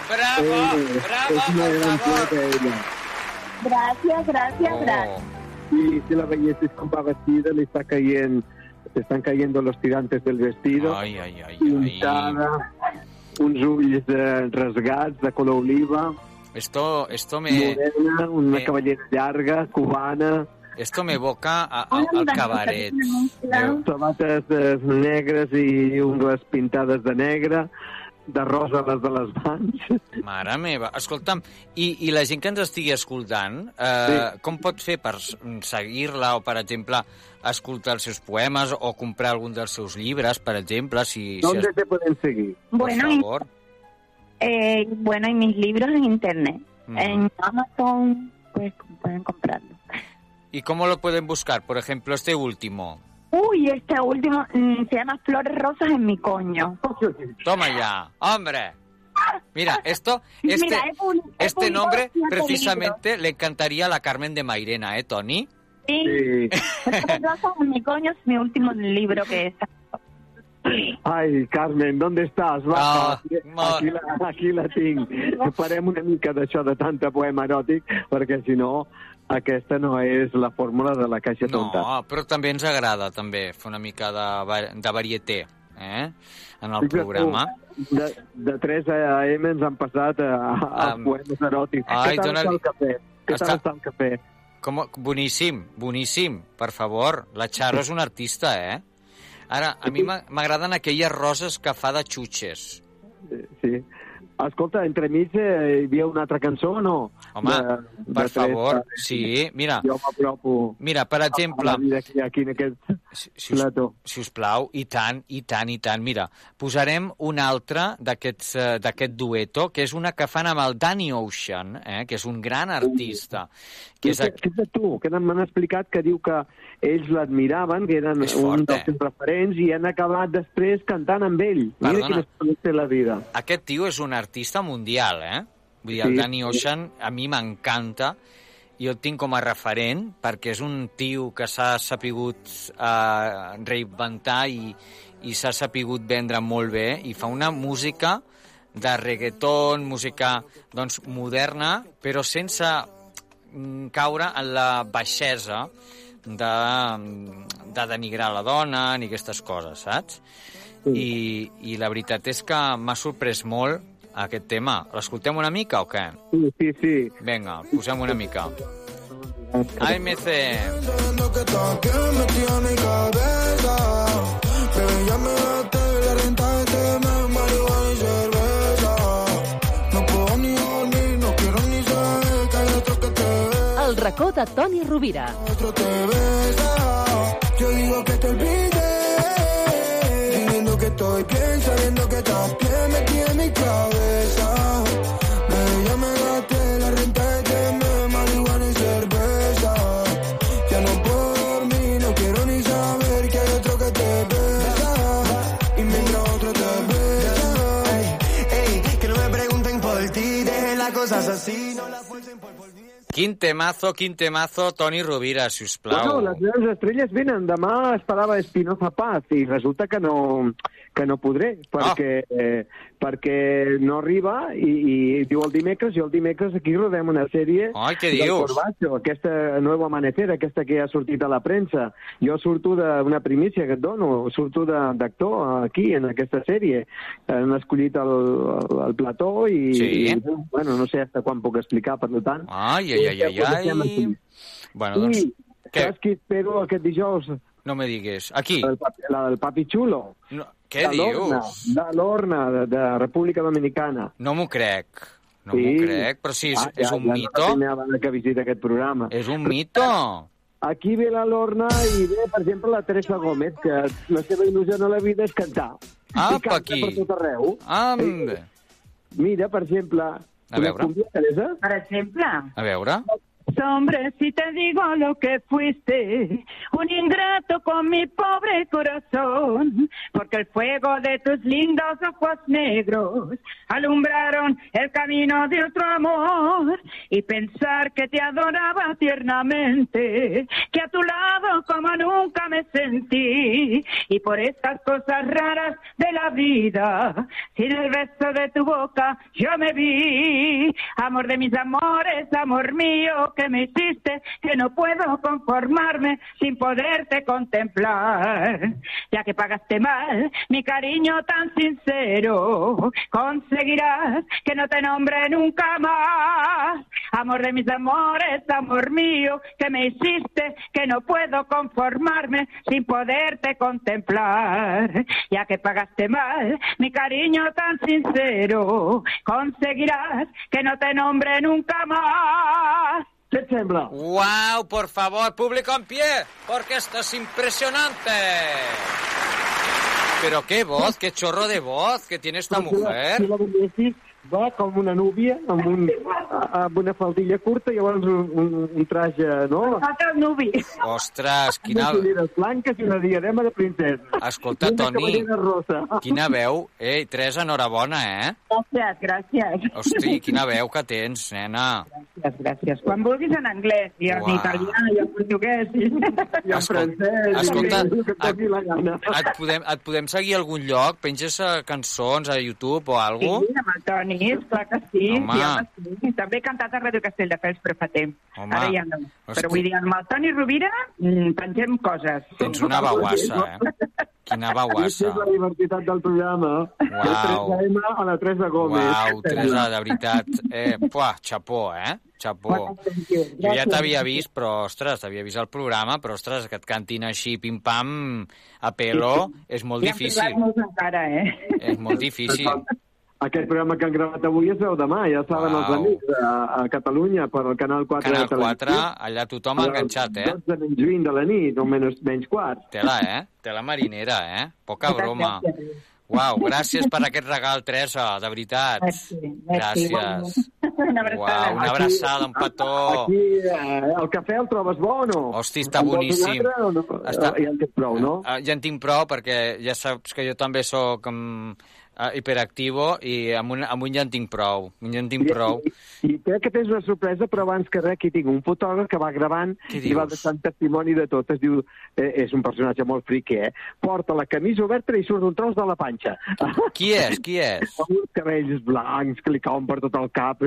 [SPEAKER 11] bravo,
[SPEAKER 3] Eh,
[SPEAKER 11] bravo,
[SPEAKER 3] és una
[SPEAKER 11] por
[SPEAKER 3] gran
[SPEAKER 11] favor.
[SPEAKER 3] poeta, ella.
[SPEAKER 16] Gracias, gracias,
[SPEAKER 11] gracias.
[SPEAKER 3] Y si la belleza es como va vestida, le está cayendo, le están cayendo los tirantes del vestido.
[SPEAKER 11] Ay, ay, ay,
[SPEAKER 3] Pintada, uns ulls eh, rasgats de color oliva,
[SPEAKER 11] Esto, esto me,
[SPEAKER 3] morena, una
[SPEAKER 11] eh.
[SPEAKER 3] cabellera llarga, cubana,
[SPEAKER 11] esto me evoca a- a- al cabaret.
[SPEAKER 3] sabates eh, negres i ungles pintades de negre, de rosa les de les mans.
[SPEAKER 11] Mare meva, escolta'm, i, i la gent que ens estigui escoltant, eh, sí. com pot fer per s- mm, seguir-la o, per exemple, escoltar els seus poemes o comprar algun dels seus llibres, per exemple, si... si
[SPEAKER 3] ¿Dónde te pueden seguir?
[SPEAKER 11] Por
[SPEAKER 16] Bueno, y-
[SPEAKER 11] favor.
[SPEAKER 16] Eh, bueno, y mis libros en internet,
[SPEAKER 11] Ujú.
[SPEAKER 16] en Amazon, pues pueden comprarlo.
[SPEAKER 11] ¿Y cómo lo pueden buscar? Por ejemplo, este último.
[SPEAKER 16] Uy, este último mm, se llama Flores Rosas en mi coño.
[SPEAKER 11] Toma ya, hombre. Mira, esto, este,
[SPEAKER 16] Mira, he pub- he
[SPEAKER 11] este
[SPEAKER 16] publicado
[SPEAKER 11] nombre
[SPEAKER 16] siete
[SPEAKER 11] precisamente le encantaría a la Carmen de Mairena, ¿eh, Tony?
[SPEAKER 16] Sí. Flores Rosas en mi coño es mi último libro que es.
[SPEAKER 3] Ai, Carmen, ¿dónde estàs? Va,
[SPEAKER 11] Ah,
[SPEAKER 3] aquí,
[SPEAKER 11] molt.
[SPEAKER 3] aquí, la, aquí la tinc. Farem una mica d'això de tanta poema eròtic, perquè si no Aquesta no és la fórmula de la caixa
[SPEAKER 11] No,
[SPEAKER 3] tonta.
[SPEAKER 11] Oh, però també ens agrada també fer una mica de, va- de varieté eh? en el
[SPEAKER 3] Fixa't tu,
[SPEAKER 11] programa.
[SPEAKER 3] De, de 3 a.m. ens han passat a, a, a
[SPEAKER 11] Am.
[SPEAKER 3] poemes eròtics.
[SPEAKER 11] Ai,
[SPEAKER 3] Què tal
[SPEAKER 11] dóna-li-
[SPEAKER 3] està el cafè? Què
[SPEAKER 11] Està-
[SPEAKER 3] tal està el cafè?
[SPEAKER 11] Com, boníssim, boníssim, per favor. La Charo és una artista, eh? Ara, a mi m'a- m'agraden aquelles roses que fa de xutxes.
[SPEAKER 3] Eh, Sí. Escolta, entremig eh, hi havia una altra cançó o no?
[SPEAKER 11] Home,
[SPEAKER 3] de
[SPEAKER 11] per
[SPEAKER 3] tres
[SPEAKER 11] favor,
[SPEAKER 3] a-
[SPEAKER 11] sí, mira.
[SPEAKER 3] Jo m'apropo
[SPEAKER 11] Mira, per exemple...
[SPEAKER 3] a la vida aquí, aquí en aquest
[SPEAKER 11] si us, si us plau, i tant, i tant, i tant. Mira, posarem un altre d'aquests, eh, d'aquest dueto, que és una que fan amb el Danny Ocean, eh, que és un gran artista. Que és, aqu-
[SPEAKER 3] Fixa't tu, que m'han explicat que diu que ells l'admiraven, que eren
[SPEAKER 11] És
[SPEAKER 3] un
[SPEAKER 11] fort,
[SPEAKER 3] dels
[SPEAKER 11] eh?
[SPEAKER 3] seus referents, i han acabat després cantant amb ell. Mira
[SPEAKER 11] Perdona.
[SPEAKER 3] quina salut té la vida.
[SPEAKER 11] aquest tio és un artista mundial, eh? Vull dir, el
[SPEAKER 3] Sí.
[SPEAKER 11] Danny Ocean a mi m'encanta, i el tinc com a referent perquè és un tio que s'ha sapigut eh, reinventar i, i s'ha sapigut vendre molt bé i fa una música de reggaeton, música doncs, moderna, però sense mm, caure en la baixesa de, de denigrar la dona ni aquestes coses, saps? I, I la veritat és que m'ha sorprès molt aquest tema. L'escoltem una mica o què?
[SPEAKER 3] Sí, sí, sí.
[SPEAKER 11] Vinga, posem una mica. AMC.
[SPEAKER 5] Sabiendo que estás bien metido en mi cabeza. Bebé, ya me gasté la renta de tema, marihuana y cerveza. No puedo ni dormir, no quiero ni saber que hay otro que te
[SPEAKER 14] El racó de Toni Rovira.
[SPEAKER 5] besa. Yo digo que te olvides. Diciendo que estoy bien, sabiendo que estás bien metido en mi cabeza. Bebé, ya me gasté la renta de tema, marihuana y cerveza. Ya no puedo dormir, no quiero ni saber que hay otro que te besa. Y mientras otro te besa. Ey, ey, que no me pregunten por ti, dejen las cosas así. No las...
[SPEAKER 11] Quin temazo, quin temazo, Toni Rovira, si us
[SPEAKER 3] Bueno,
[SPEAKER 11] plau.
[SPEAKER 3] les meves estrelles venen. Demà esperava Espinoza Paz i resulta que no, que no podré perquè,
[SPEAKER 11] Ah.
[SPEAKER 3] eh, perquè no arriba i, i diu el dimecres i el dimecres aquí rodem una sèrie
[SPEAKER 11] Ai, què
[SPEAKER 3] del
[SPEAKER 11] dius?
[SPEAKER 3] Corbacho, aquesta Nuevo Amanecer, aquesta que ha sortit a la premsa. Jo surto d'una primícia que et dono, surto de- d'actor aquí en aquesta sèrie. Han escollit el, el, el plató i,
[SPEAKER 11] Sí.
[SPEAKER 3] i, bueno, no sé hasta quan puc explicar, per tant.
[SPEAKER 11] Ai, ai, ai, ai, ai. Bueno, doncs,
[SPEAKER 3] I saps qui espero aquest dijous?
[SPEAKER 11] no me digues. Aquí,
[SPEAKER 3] La del papi, la del papi xulo.
[SPEAKER 11] No, què
[SPEAKER 3] de l'Orna,
[SPEAKER 11] dius?
[SPEAKER 3] De l'Orna, de, de República Dominicana.
[SPEAKER 11] No m'ho crec. No m'ho crec, però sí, és,
[SPEAKER 3] Ah,
[SPEAKER 11] és un
[SPEAKER 3] ja, Ja no és
[SPEAKER 11] mito.
[SPEAKER 3] la primera vegada que visita aquest programa.
[SPEAKER 11] És un mito.
[SPEAKER 3] Aquí ve la Lorna i ve, per exemple, la Teresa Gómez, que la seva il·lusió a la vida és cantar. I
[SPEAKER 11] Apa,
[SPEAKER 3] canta
[SPEAKER 11] aquí.
[SPEAKER 3] per tot arreu. Eh,
[SPEAKER 11] Am.
[SPEAKER 3] Mira, per exemple...
[SPEAKER 11] A veure.
[SPEAKER 3] Teresa?
[SPEAKER 19] Per exemple.
[SPEAKER 11] A veure.
[SPEAKER 19] Hombre, si te digo lo que fuiste, un ingrato con mi pobre corazón, porque el fuego de tus lindos ojos negros alumbraron el camino de otro amor y pensar que te adoraba tiernamente, que a tu lado como nunca me sentí y por estas cosas raras de la vida, sin el beso de tu boca yo me vi, amor de mis amores, amor mío que me hiciste, que no puedo conformarme sin poderte contemplar, ya que pagaste mal mi cariño tan sincero, conseguirás que no te nombre nunca más, amor de mis amores, amor mío que me hiciste, que no puedo conformarme sin poderte contemplar, ya que pagaste mal mi cariño tan sincero, conseguirás que no te nombre nunca más.
[SPEAKER 3] Què et sembla?
[SPEAKER 11] Wow, por favor, público en pie, porque esto es impresionante. Pero qué voz, qué chorro de voz que tiene esta mujer.
[SPEAKER 3] Si la veiessis, va com una núvia, amb, un, amb una faldilla curta i llavors un, un, un traje, no?
[SPEAKER 19] Nosaltres nubi.
[SPEAKER 11] Ostres, quina...
[SPEAKER 3] Unes ulleres blanques i una diadema de princesa.
[SPEAKER 11] Escolta,
[SPEAKER 3] Una
[SPEAKER 11] Toni,
[SPEAKER 3] cabellera rosa.
[SPEAKER 11] quina veu. Ei, Teresa, enhorabona, eh?
[SPEAKER 19] Gracias, gracias.
[SPEAKER 11] Hosti, quina veu que tens, nena.
[SPEAKER 17] Muchas gracias.
[SPEAKER 19] Quan vulguis en anglès, i en
[SPEAKER 11] Uau.
[SPEAKER 19] italià, i en portuguès, i, i en francès,
[SPEAKER 11] escolta,
[SPEAKER 19] i el que toqui la gana.
[SPEAKER 11] Et podem, et podem seguir a algun lloc? Penges eh, cançons a YouTube o
[SPEAKER 19] Sí,
[SPEAKER 11] alguna cosa?
[SPEAKER 19] amb el Toni, esclar que sí.
[SPEAKER 11] Home.
[SPEAKER 19] sí, home, sí. També he cantat a Ràdio Castelldefels, però fa temps.
[SPEAKER 11] Home.
[SPEAKER 19] Ara ja no.
[SPEAKER 11] Hosti.
[SPEAKER 19] Però vull dir, amb el Toni Rovira mm, pengem coses.
[SPEAKER 11] Tens una baguassa, eh? Quina
[SPEAKER 3] Aquesta
[SPEAKER 11] baguassa.
[SPEAKER 3] és la diversitat del programa.
[SPEAKER 11] Uau.
[SPEAKER 3] El 3M a la Teresa Gómez.
[SPEAKER 11] Uau, Teresa, de veritat. Eh, puah, xapó, eh? Xapó. Jo ja t'havia vist, però, ostres, t'havia vist el programa, però, ostres, que et cantin així, pim-pam, a pelo, és molt
[SPEAKER 19] I en
[SPEAKER 11] difícil.
[SPEAKER 19] privat no Encara, eh?
[SPEAKER 11] És molt difícil.
[SPEAKER 3] Aquest programa que han gravat avui es veu demà, ja saben els
[SPEAKER 11] Uau.
[SPEAKER 3] amics, a, a Catalunya, per al Canal 4
[SPEAKER 11] Canal
[SPEAKER 3] de Televisió.
[SPEAKER 11] 4, allà tothom enganxat, eh?
[SPEAKER 3] 12 menys 20 de la nit, o menys, menys quart.
[SPEAKER 11] Tela, eh? Tela marinera, eh? Poca broma. Uau, gràcies per aquest regal, Teresa, de veritat. Gràcies.
[SPEAKER 19] Una
[SPEAKER 11] Uau, una abraçada, un petó.
[SPEAKER 3] Aquí, eh, el cafè el trobes bo o no?
[SPEAKER 11] Hosti, està
[SPEAKER 3] En vols un
[SPEAKER 11] boníssim.
[SPEAKER 3] altre o no? Eh,
[SPEAKER 11] Està...
[SPEAKER 3] Ja en tens prou, no?
[SPEAKER 11] Ah, Ja en tinc prou perquè ja saps que jo també sóc um, hiperactivo i amb un, amb un ja en tinc prou. Un ja en tinc prou.
[SPEAKER 3] I crec que tens una sorpresa, però abans que res, aquí tinc un fotògraf que va gravant
[SPEAKER 11] Què
[SPEAKER 3] i va
[SPEAKER 11] dius?
[SPEAKER 3] deixant testimoni de tot. Es diu, eh, és un personatge molt friqui, eh? Porta la camisa oberta i surt un tros de la panxa.
[SPEAKER 11] Qui és? Qui és?
[SPEAKER 3] Amb uns cabells blancs que li cauen per tot el cap.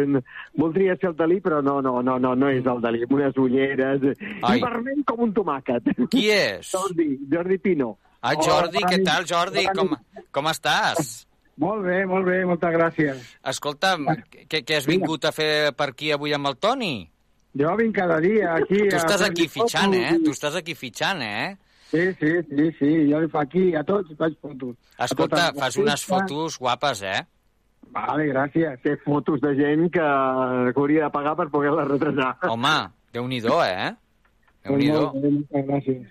[SPEAKER 3] Voldria ser el Dalí, però no, no, no, no, no és el Dalí. Amb unes ulleres
[SPEAKER 11] Ai.
[SPEAKER 3] i vermell com un tomàquet.
[SPEAKER 11] Qui és?
[SPEAKER 3] Jordi, Jordi Pino.
[SPEAKER 11] Ah, Jordi, què tal, Jordi? Com, com estàs?
[SPEAKER 20] Molt bé, molt bé, moltes gràcies.
[SPEAKER 11] Escolta'm, què, què has vingut a fer per aquí avui amb el Toni?
[SPEAKER 20] Jo vinc cada dia aquí...
[SPEAKER 11] Tu
[SPEAKER 20] a
[SPEAKER 11] estàs
[SPEAKER 20] fer-li
[SPEAKER 11] aquí fitxant,
[SPEAKER 20] fotos
[SPEAKER 11] eh?
[SPEAKER 20] i-
[SPEAKER 11] Tu estàs aquí fitxant, eh?
[SPEAKER 20] Sí, sí, sí, sí, jo li fa aquí, a tots faig fotos. A
[SPEAKER 11] Escolta,
[SPEAKER 20] totes les
[SPEAKER 11] fas unes
[SPEAKER 20] artistes.
[SPEAKER 11] fotos guapes, eh?
[SPEAKER 3] Vale, gràcies. Té fotos de gent que, que hauria de pagar per poder-les retratar.
[SPEAKER 11] Home, déu-n'hi-do, eh?
[SPEAKER 20] Doncs
[SPEAKER 11] Déu-n'hi-do.
[SPEAKER 20] molt bé, Moltes gràcies.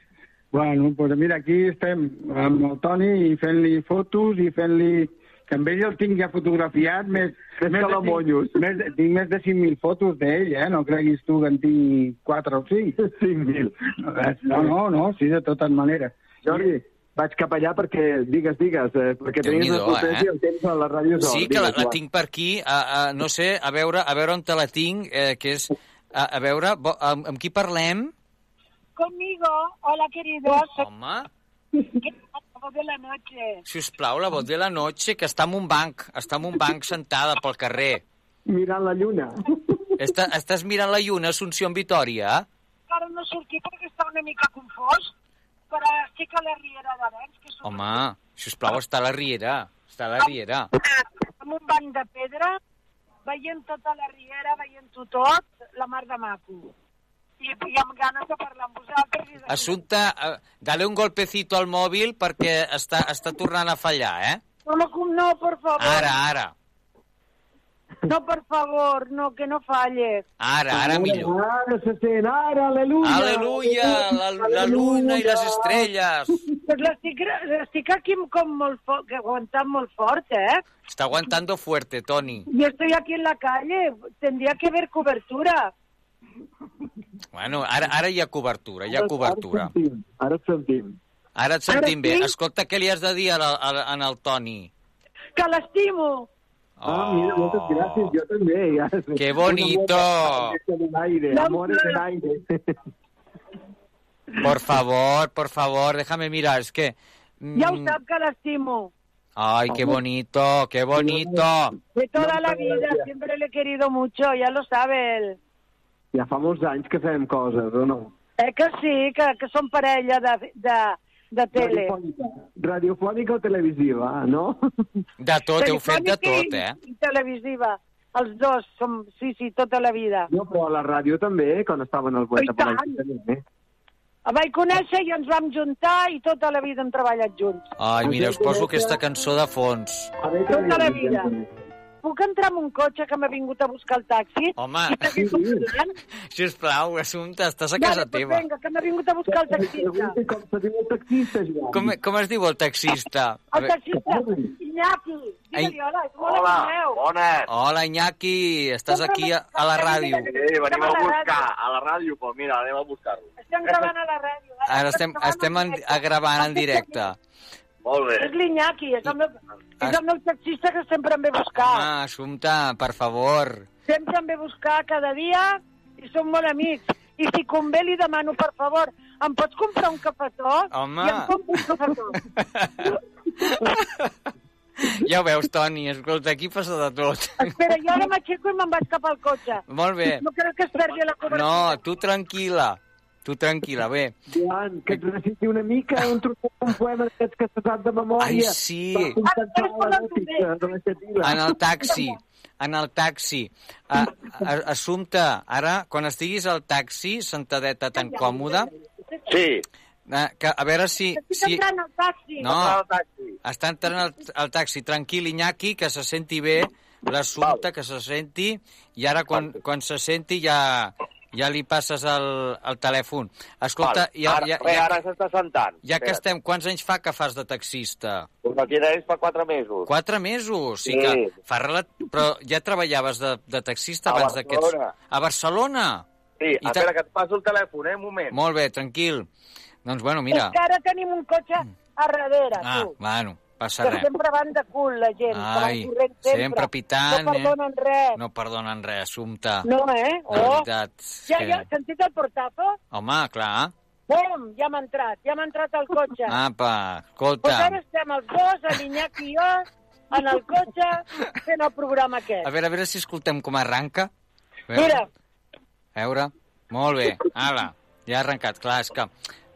[SPEAKER 20] Bueno, doncs mira, aquí estem amb el Toni i fent-li fotos i fent-li... Que amb ell el tinc ja fotografiat més...
[SPEAKER 3] Més que la
[SPEAKER 20] cinc- Més, de- tinc més de 5.000 fotos d'ell, eh? No creguis tu que en tinc 4 o 5.
[SPEAKER 3] 5.000.
[SPEAKER 20] No, no, no, sí, de totes maneres.
[SPEAKER 3] Jordi, vaig cap allà perquè, digues, digues, eh, perquè tenies una
[SPEAKER 11] Déu-n'hi-do,
[SPEAKER 3] potència eh?
[SPEAKER 11] eh?
[SPEAKER 3] el temps a la ràdio és or,
[SPEAKER 11] Sí, que la,
[SPEAKER 3] digues,
[SPEAKER 11] la
[SPEAKER 3] va.
[SPEAKER 11] tinc per aquí, a, a, no sé, a veure, a veure on te la tinc, eh, que és... A, a veure, bo, amb, amb qui parlem?
[SPEAKER 13] Conmigo, hola queridos.
[SPEAKER 11] Home,
[SPEAKER 13] ¿Qué tal? ¿Cómo de la noche?
[SPEAKER 11] si us plau, la vot de la noche, que està en un banc, està en un banc sentada pel carrer.
[SPEAKER 3] Mirant la lluna.
[SPEAKER 11] Està, estàs mirant la lluna, Assumpció en Vitoria?
[SPEAKER 13] Encara no he sortit perquè està una mica confós, però estic a la Riera d'Arenys, que
[SPEAKER 11] Home, si us plau, està a la riera, està a la riera.
[SPEAKER 13] és amb un banc de pedra, veient tota la Riera, veient-ho tot, la mar de maco. I, i amb ganes de parlar amb vosaltres. I de...
[SPEAKER 11] Assumpta, eh, dale un golpecito al mòbil perquè està, està tornant a fallar, eh?
[SPEAKER 13] No, no, no, por favor.
[SPEAKER 11] Ara, ara,
[SPEAKER 13] No, por favor, no, que no falles.
[SPEAKER 11] ara, ara millor.
[SPEAKER 3] Ara se sent, ara, aleluia.
[SPEAKER 11] Aleluia, la, la luna i les estrelles.
[SPEAKER 13] Pues l'estic, l'estic aquí com molt fort, aguantant molt fort, eh?
[SPEAKER 11] Està aguantando fuerte, Toni.
[SPEAKER 13] Yo estoy aquí en la calle, tendría que haber cobertura.
[SPEAKER 11] Bueno, ara, ara hi ha cobertura, hi ha cobertura.
[SPEAKER 3] Ara et sentim.
[SPEAKER 11] Ara et sentim
[SPEAKER 13] Ara
[SPEAKER 11] bé.
[SPEAKER 13] sí?
[SPEAKER 11] Escolta, què li has de dir a la, a, la- en el Toni?
[SPEAKER 13] Que l'estimo!
[SPEAKER 3] Ah, mira, moltes gràcies, jo també. Ja.
[SPEAKER 11] Oh. Que bonito.
[SPEAKER 3] Una aire, amores en aire.
[SPEAKER 11] Por favor, por favor, déjame mirar, és que... mm,
[SPEAKER 13] Ja ho sap que l'estimo.
[SPEAKER 11] Ay, qué bonito, qué bonito.
[SPEAKER 13] De toda la vida, siempre le he querido mucho, ya lo sabe él.
[SPEAKER 3] Ja fa molts anys que fem coses, o no?
[SPEAKER 13] Eh que sí, que, que som parella de, de, de tele.
[SPEAKER 3] Radiofònica o televisiva, no?
[SPEAKER 11] De tot, heu fet
[SPEAKER 13] Telefònica
[SPEAKER 11] de tot, eh?
[SPEAKER 13] I, i televisiva. Els dos som, sí, sí, tota la vida.
[SPEAKER 3] No, però a la ràdio també, quan estaven al Guaita per
[SPEAKER 13] tant.
[SPEAKER 3] aquí també, eh?
[SPEAKER 13] El vaig conèixer i ens vam juntar i tota la vida hem treballat junts.
[SPEAKER 11] Ai, mira, us poso aquesta cançó de fons.
[SPEAKER 13] Tota la vida. Puc entrar en un cotxe que m'ha vingut a buscar el taxi?
[SPEAKER 11] Home,
[SPEAKER 13] I seguim parlant?
[SPEAKER 11] sisplau, Assumpta, estàs a
[SPEAKER 13] Vale,
[SPEAKER 11] casa
[SPEAKER 13] pues
[SPEAKER 11] teva.
[SPEAKER 13] doncs Vinga, que m'ha vingut a buscar el taxista.
[SPEAKER 3] Com se diu el taxista, Joan?
[SPEAKER 11] Com, com es diu el taxista? A
[SPEAKER 13] El
[SPEAKER 11] ve-
[SPEAKER 13] taxista, Iñaki. Digue-li hola, és molt
[SPEAKER 11] Hola,
[SPEAKER 13] amic meu.
[SPEAKER 11] Hola, Iñaki, estàs aquí a, a la ràdio.
[SPEAKER 21] Sí, venim a buscar a la ràdio, però mira, anem a buscar-lo.
[SPEAKER 13] Estem gravant a la ràdio. eh?"
[SPEAKER 11] Ara estem, estem en, a gravant en directe.
[SPEAKER 21] Molt bé.
[SPEAKER 13] És l'Iñaki, és el, meu, és el meu taxista que sempre em ve a buscar.
[SPEAKER 11] Ah, Assumpta, per favor.
[SPEAKER 13] Sempre em ve a buscar cada dia i som molt amics. I si convé li demano, per favor, em pots comprar un cafetó?
[SPEAKER 11] Home.
[SPEAKER 13] I em compro un cafetó.
[SPEAKER 11] Ja ho veus, Toni, escolta, aquí passa de tot.
[SPEAKER 13] Espera, jo ara m'aixeco i me'n vaig cap al cotxe.
[SPEAKER 11] Molt bé.
[SPEAKER 13] No crec que es perdi la cobertura.
[SPEAKER 11] No, tu tranquil·la. Tu tranquil·la, bé.
[SPEAKER 3] Joan, que et necessiti una mica un trosset un poema d'aquests que s'ha dat de memòria.
[SPEAKER 11] Ai, sí. Ah,
[SPEAKER 3] Per contemplar l'eròtica de la Xatila.
[SPEAKER 11] En el taxi, en el taxi. A, a, assumpte, ara, quan estiguis al taxi, sentadeta tan còmoda,
[SPEAKER 21] Sí.
[SPEAKER 11] eh, que a veure si...
[SPEAKER 13] Estic
[SPEAKER 11] si...
[SPEAKER 13] entrant al taxi.
[SPEAKER 11] No, està entrant al, al taxi. Tranquil, Iñaki, que se senti bé l'assumpte, que se senti, i ara quan, quan se senti ja, ja li passes el, el telèfon. Escolta,
[SPEAKER 21] Val. Ara- re, ara s'està sentant.
[SPEAKER 11] ja que
[SPEAKER 21] Espera't.
[SPEAKER 11] estem, quants anys fa que fas de taxista?
[SPEAKER 21] Doncs aquí és fa quatre mesos.
[SPEAKER 11] Quatre mesos, sí,
[SPEAKER 21] Sí.
[SPEAKER 11] que fa relat... Però ja treballaves de, de taxista
[SPEAKER 21] A
[SPEAKER 11] abans d'aquests...
[SPEAKER 21] Barcelona.
[SPEAKER 11] A Barcelona?
[SPEAKER 21] Sí,
[SPEAKER 11] I
[SPEAKER 21] espera, que et passo el telèfon, eh, un moment.
[SPEAKER 11] Molt bé, tranquil. Doncs, bueno, mira...
[SPEAKER 13] És que ara tenim un cotxe a darrere,
[SPEAKER 11] Ah,
[SPEAKER 13] tu.
[SPEAKER 11] bueno, passa
[SPEAKER 13] Que
[SPEAKER 11] res.
[SPEAKER 13] sempre van de cul, la gent. que van
[SPEAKER 11] Ai,
[SPEAKER 13] corrent sempre.
[SPEAKER 11] sempre pitant,
[SPEAKER 13] No perdonen eh? res.
[SPEAKER 11] No perdonen res, Assumpta.
[SPEAKER 13] No, eh?
[SPEAKER 11] De
[SPEAKER 13] Oh.
[SPEAKER 11] veritat.
[SPEAKER 13] Ja,
[SPEAKER 11] que-
[SPEAKER 13] ja, sentit el portazo?
[SPEAKER 11] Home, clar.
[SPEAKER 13] Bum, ja m'ha entrat, ja m'ha entrat al cotxe.
[SPEAKER 11] Ah, Apa,
[SPEAKER 13] Doncs ara
[SPEAKER 11] escolta.
[SPEAKER 13] estem els dos, a l'Iñaki i jo, en el cotxe, fent el programa
[SPEAKER 11] A
[SPEAKER 13] aquest.
[SPEAKER 11] veure, a veure si escoltem com arranca. A veure,
[SPEAKER 13] Mira,
[SPEAKER 11] A veure. Molt bé, ala. Ja ha arrencat, clar, és que,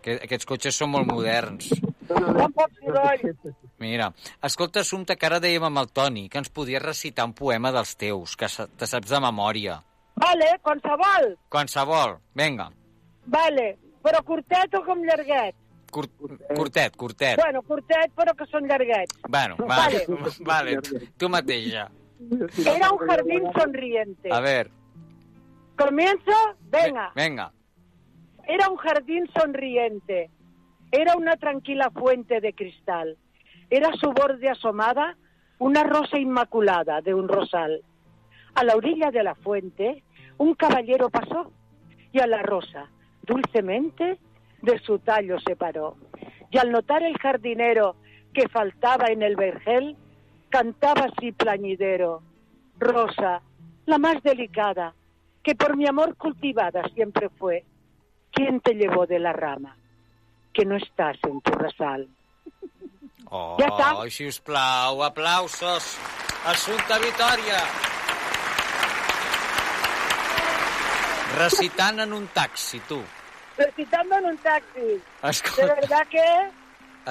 [SPEAKER 11] que aquests cotxes són molt moderns. Mira, escolta, Assumpta, que ara dèiem amb el Toni que ens podies recitar un poema dels teus, que sa- te saps de memòria.
[SPEAKER 13] vale, qualsevol,
[SPEAKER 11] Qualsevol, vinga,
[SPEAKER 13] vale, però curtet o com llarguet?
[SPEAKER 11] curt, curtet, curtet.
[SPEAKER 13] Bueno, curtet, però que són llarguets.
[SPEAKER 11] Bueno, vale,
[SPEAKER 13] Vale.
[SPEAKER 11] vale, tu mateixa.
[SPEAKER 13] Era un jardín sonriente.
[SPEAKER 11] A veure,
[SPEAKER 13] Comienzo, venga.
[SPEAKER 11] vinga.
[SPEAKER 13] Era un jardín sonriente. Era una tranquila fuente de cristal. Era su borde asomada una rosa inmaculada de un rosal. A la orilla de la fuente un caballero pasó y a la rosa dulcemente de su tallo se paró. Y al notar el jardinero que faltaba en el vergel, cantaba así plañidero. Rosa, la más delicada, que por mi amor cultivada siempre fue. ¿Quién te llevó de la rama? Que no estás en tu rasal.
[SPEAKER 11] Oh,
[SPEAKER 13] Ja està.
[SPEAKER 11] sisplau, aplausos. Assumpta Vitòria. Recitant en un taxi, tu.
[SPEAKER 13] Recitando en un taxi. De
[SPEAKER 11] Escolta,
[SPEAKER 13] verdad que...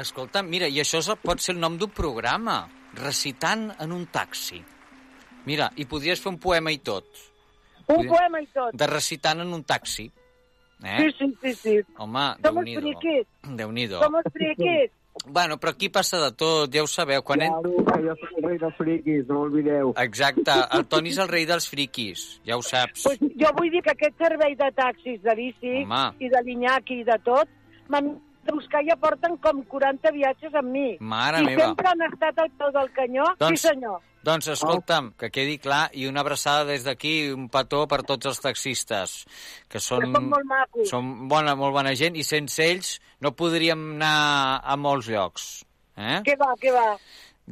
[SPEAKER 11] escolta mira, i això és- pot ser el nom d'un programa. Recitant en un taxi. Mira, i podries fer un poema i tot.
[SPEAKER 13] Un poema i tot.
[SPEAKER 11] De recitant en un taxi. Eh?
[SPEAKER 13] Sí, sí, sí, sí.
[SPEAKER 11] Home,
[SPEAKER 13] Somos
[SPEAKER 11] Déu-n'hi-do.
[SPEAKER 13] friquis.
[SPEAKER 11] Déu-n'hi-do.
[SPEAKER 13] Somos friquis.
[SPEAKER 11] Bueno, però aquí passa de tot, ja ho sabeu. Quan en...
[SPEAKER 3] Claro, que jo soc el rei dels friquis, no ho oblideu.
[SPEAKER 11] Exacte, el Toni és el rei dels friquis, ja ho saps.
[SPEAKER 13] Pues jo vull dir que aquest servei de taxis, de bici
[SPEAKER 11] Home.
[SPEAKER 13] i de l'Iñaki i de tot, m'han de buscar i ja porten com 40 viatges amb mi.
[SPEAKER 11] Mare
[SPEAKER 13] I
[SPEAKER 11] meva.
[SPEAKER 13] sempre han estat al peu del canyó.
[SPEAKER 11] Doncs-
[SPEAKER 13] Sí, senyor.
[SPEAKER 11] Doncs escolta'm, que quedi clar, i una abraçada des d'aquí, un petó per tots els taxistes, que són,
[SPEAKER 13] Que són molt macos.
[SPEAKER 11] són bona, molt bona gent, i sense ells no podríem anar a molts llocs. Eh?
[SPEAKER 13] Què va, què va?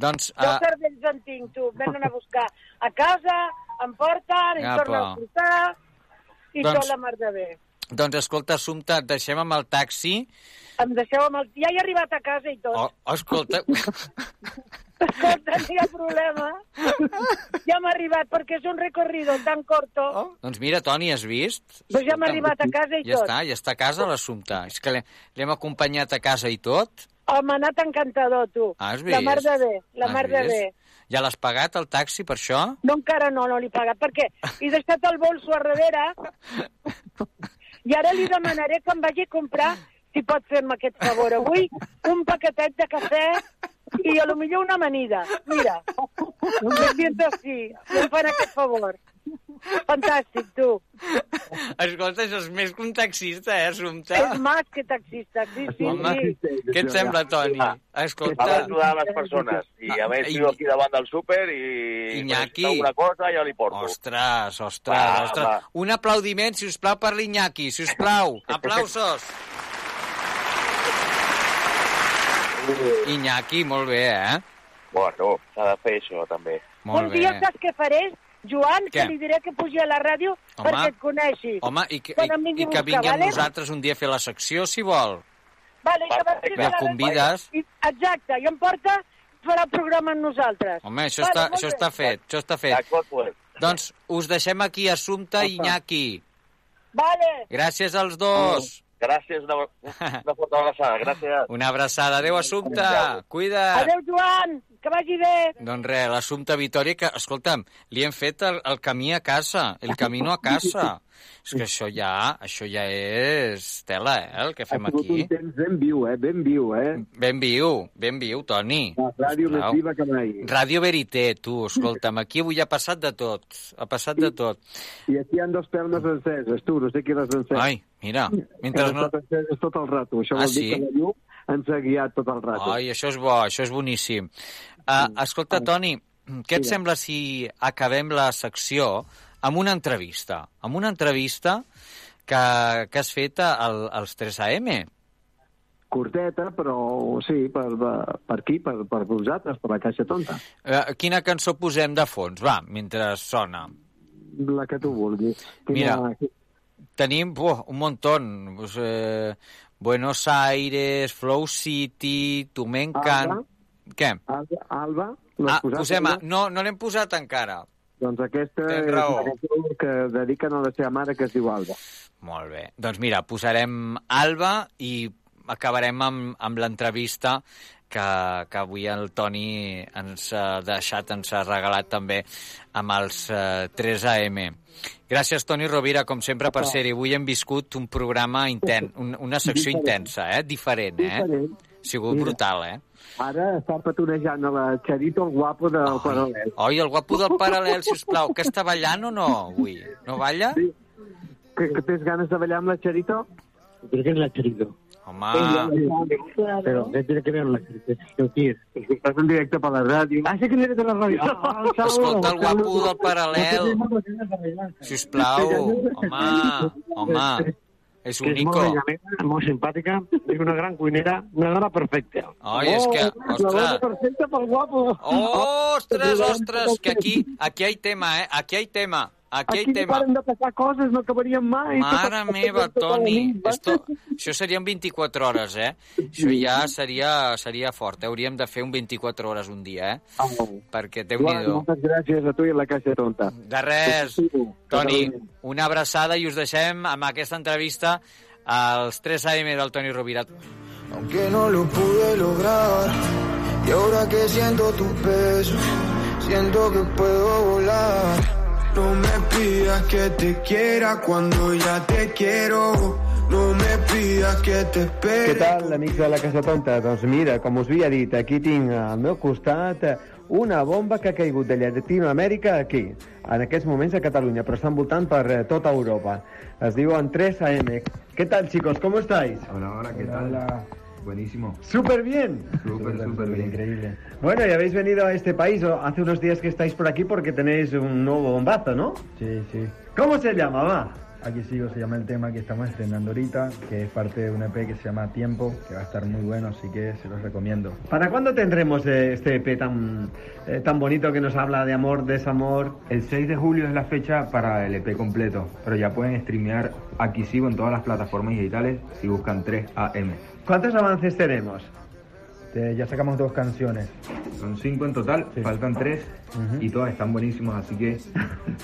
[SPEAKER 11] Doncs,
[SPEAKER 13] Jo
[SPEAKER 11] ah,
[SPEAKER 13] cervells en tinc, tu. Venen a buscar a casa, em porten, em
[SPEAKER 11] Apa.
[SPEAKER 13] tornen a portar... I
[SPEAKER 11] Doncs-
[SPEAKER 13] tot la mar de bé.
[SPEAKER 11] doncs escolta, Assumpta, et deixem amb el taxi.
[SPEAKER 13] Em deixeu amb el... Ja he arribat a casa i tot.
[SPEAKER 11] Oh, escolta,
[SPEAKER 13] Escolta, no hi ha problema. Ja m'ha arribat, perquè és un recorrido tan corto. Oh.
[SPEAKER 11] doncs mira, Toni, has vist?
[SPEAKER 13] Però Doncs ja m'ha arribat a casa i
[SPEAKER 11] Ja
[SPEAKER 13] tot.
[SPEAKER 11] està, ja està a casa l'Assumpta. És que l'he- l'hem acompanyat a casa i tot.
[SPEAKER 13] Home, ha anat encantador, tu.
[SPEAKER 11] Has
[SPEAKER 13] La mar
[SPEAKER 11] vist?
[SPEAKER 13] de bé, la
[SPEAKER 11] Has
[SPEAKER 13] mar de
[SPEAKER 11] vist?
[SPEAKER 13] bé.
[SPEAKER 11] Ja l'has pagat, el taxi, per això?
[SPEAKER 13] No, encara no, no l'he pagat, perquè he deixat el bolso a darrere i ara li demanaré que em vagi a comprar, si pot fer-me aquest favor avui, un paquetet de cafè i a lo millor una amanida. Mira, em siento així, em fan aquest favor. Fantàstic, tu.
[SPEAKER 11] Escolta, això és més que un taxista, eh, Assumpta?
[SPEAKER 13] És més que taxista, sí, sí,
[SPEAKER 11] Home,
[SPEAKER 13] sí.
[SPEAKER 11] què et sembla, Toni? Escolta... Ah,
[SPEAKER 21] Va ajudar a les persones. I a més, jo aquí davant del súper i...
[SPEAKER 11] Iñaki.
[SPEAKER 21] necessita Una cosa, jo li porto.
[SPEAKER 11] Ostres, ostres,
[SPEAKER 17] Ah,
[SPEAKER 21] Va,
[SPEAKER 11] ostres.
[SPEAKER 21] va.
[SPEAKER 11] Un aplaudiment, si us plau, per l'Iñaki, si us plau. Aplausos. Iñaki, molt bé, eh?
[SPEAKER 17] Bueno, s'ha de fer això, també.
[SPEAKER 13] Un dia saps què faré? Joan,
[SPEAKER 11] Què?
[SPEAKER 13] que li diré que pugi a la ràdio
[SPEAKER 11] Home.
[SPEAKER 13] perquè et coneixi.
[SPEAKER 11] Home, i que,
[SPEAKER 13] Quan em
[SPEAKER 11] i,
[SPEAKER 13] vingui
[SPEAKER 11] i
[SPEAKER 13] a
[SPEAKER 11] que
[SPEAKER 13] buscar,
[SPEAKER 11] vingui amb
[SPEAKER 13] vale?
[SPEAKER 11] nosaltres un dia a fer la secció, si vol.
[SPEAKER 13] Vale, que va,
[SPEAKER 11] perfecte. La convides.
[SPEAKER 13] I, exacte, i em porta farà programa amb nosaltres.
[SPEAKER 11] Home, això, està,
[SPEAKER 13] molt
[SPEAKER 11] això
[SPEAKER 13] bé.
[SPEAKER 11] està fet, això està fet. Doncs us deixem aquí, Assumpta i Iñaki.
[SPEAKER 13] Vale.
[SPEAKER 11] Gràcies als dos.
[SPEAKER 17] Gràcies, una, una forta abraçada, gràcies.
[SPEAKER 11] Una abraçada. Adéu, Assumpta.
[SPEAKER 17] Adéu.
[SPEAKER 11] Cuida.
[SPEAKER 13] Adéu, Joan, que vagi bé.
[SPEAKER 11] Doncs res, l'assumpte Vitoria, que, escolta'm, li hem fet el, el camí a casa, el camino a casa. És que això ja, això ja és tela, eh, el que fem
[SPEAKER 6] Ha sigut
[SPEAKER 11] aquí.
[SPEAKER 6] un temps ben viu, eh? Ben viu, eh?
[SPEAKER 11] Ben viu, ben viu, Toni.
[SPEAKER 6] La ràdio més
[SPEAKER 11] Sisplau.
[SPEAKER 6] viva que mai.
[SPEAKER 11] Ràdio Verité, tu, escolta'm, aquí avui ha passat de tot, ha passat de tot.
[SPEAKER 6] I aquí hi ha dos pernes enceses, tu, no sé qui les encesa.
[SPEAKER 11] Ai, mira, mentre
[SPEAKER 6] Han
[SPEAKER 11] no...
[SPEAKER 6] estat enceses tot el rato. Això
[SPEAKER 11] Ah,
[SPEAKER 6] vol dir
[SPEAKER 11] sí?
[SPEAKER 6] que la llum ens ha guiat tot el rato.
[SPEAKER 11] Ai, això és bo, això és boníssim. Uh, escolta, Toni, què et
[SPEAKER 6] Digue'm.
[SPEAKER 11] sembla si acabem la secció amb una entrevista? Amb una entrevista que, que has fet al, als 3AM.
[SPEAKER 6] Curteta, però sí, per, per aquí, per, per vosaltres, per la caixa tonta.
[SPEAKER 11] Uh, quina cançó posem de fons? Va, mentre sona.
[SPEAKER 6] La que tu vulguis.
[SPEAKER 11] Mira. Tenim buah, un montón. Pues, eh, Buenos Aires, Flow City, Tu m'encant...
[SPEAKER 6] Alba?
[SPEAKER 11] Què?
[SPEAKER 6] Alba? Alba
[SPEAKER 11] Ah,
[SPEAKER 6] l'has posat,
[SPEAKER 11] posem... A...
[SPEAKER 6] Alba?
[SPEAKER 11] No, no l'hem posat encara.
[SPEAKER 6] Doncs aquesta
[SPEAKER 11] Tens
[SPEAKER 6] és
[SPEAKER 11] raó.
[SPEAKER 6] la cançó que dediquen a la seva mare, que es diu Alba.
[SPEAKER 11] Molt bé. Doncs mira, posarem Alba i acabarem amb, amb l'entrevista que, que avui el Toni ens ha deixat, ens ha regalat també amb els eh, 3AM. Gràcies, Toni Rovira, com sempre,
[SPEAKER 6] Ah.
[SPEAKER 11] per ser-hi. Avui hem viscut un programa intens, un, una secció
[SPEAKER 6] Diferent.
[SPEAKER 11] intensa, eh? Diferent, eh?
[SPEAKER 6] Diferent.
[SPEAKER 11] Ha sigut
[SPEAKER 6] Mira.
[SPEAKER 11] brutal, eh?
[SPEAKER 6] Ara està petonejant a la Charito el guapo del oh. paral·lel.
[SPEAKER 11] Oi, el guapo del paral·lel, sisplau, que està ballant o no avui? No balla? Sí.
[SPEAKER 6] Que, que tens ganes de ballar amb la Charito? Crec que és la Charito.
[SPEAKER 11] Home,
[SPEAKER 6] Però què tiene que ver la Charito? Estàs en directe per la ràdio. Ah, sí que eres de la ràdio. Ah,
[SPEAKER 11] escolta el guapo del paral·lel. Sisplau, home, home, és
[SPEAKER 22] que
[SPEAKER 11] único.
[SPEAKER 22] És molt benjamina, molt simpàtica, és una gran cuinera, una dona perfecta.
[SPEAKER 11] Ai, és que,
[SPEAKER 3] Oh,
[SPEAKER 11] ostres,
[SPEAKER 6] Oh, perfecta pel guapo.
[SPEAKER 11] ostres, ostres, que aquí, aquí hi ha tema, eh? Aquí hi ha tema, aquí
[SPEAKER 6] Aquí
[SPEAKER 11] hi ha
[SPEAKER 6] no
[SPEAKER 11] tema.
[SPEAKER 6] paren de passar coses, no acabaríem mai.
[SPEAKER 11] Mare meva, Toni, esto, això serien 24 hores, eh? Això ja seria, seria fort, eh? hauríem de fer un 24 hores un dia, eh? Perquè
[SPEAKER 6] Joan,
[SPEAKER 11] déu-n'hi-do.
[SPEAKER 6] moltes gràcies a tu i a la Caixa Tonta.
[SPEAKER 11] De res, Toni, una abraçada i us deixem amb aquesta entrevista als 3 AM del Toni Rovira.
[SPEAKER 23] que no lo pude lograr. Y ahora que siento tu peso, siento que puedo volar. No me pidas que te quiera cuando ya te quiero. No me pidas que te espere.
[SPEAKER 3] Què tal, amics de la Casa Tonta? Doncs mira, com us havia dit, aquí tinc al meu costat eh, una bomba que ha caigut de Llatinoamèrica aquí, en aquests moments a Catalunya, però està envoltant per eh, tota Europa. Es diuen 3 AM. Què tal, chicos? ¿Cómo estáis?
[SPEAKER 5] Hola, hola, ¿qué tal? Buenísimo.
[SPEAKER 3] Súper bien.
[SPEAKER 5] Súper, súper bien. Increíble.
[SPEAKER 3] Bueno, y habéis venido a este país o hace unos días que estáis por aquí porque tenéis un nuevo bombazo, ¿no?
[SPEAKER 5] Sí, sí.
[SPEAKER 3] ¿Cómo se llama, va?
[SPEAKER 5] Aquí sigo, se llama el tema que estamos estrenando ahorita, que es parte de un EP que se llama Tiempo, que va a estar muy bueno, así que se los recomiendo.
[SPEAKER 3] ¿Para cuándo tendremos eh, este EP tan, eh, tan bonito que nos habla de amor, desamor?
[SPEAKER 5] El 6 de julio es la fecha para el EP completo, pero ya pueden streamear aquí sigo en todas las plataformas digitales si buscan 3AM.
[SPEAKER 3] ¿Cuántos avances tenemos?
[SPEAKER 5] ya sacamos dos canciones. Son cinco en total, faltan tres y todas están buenísimas, así que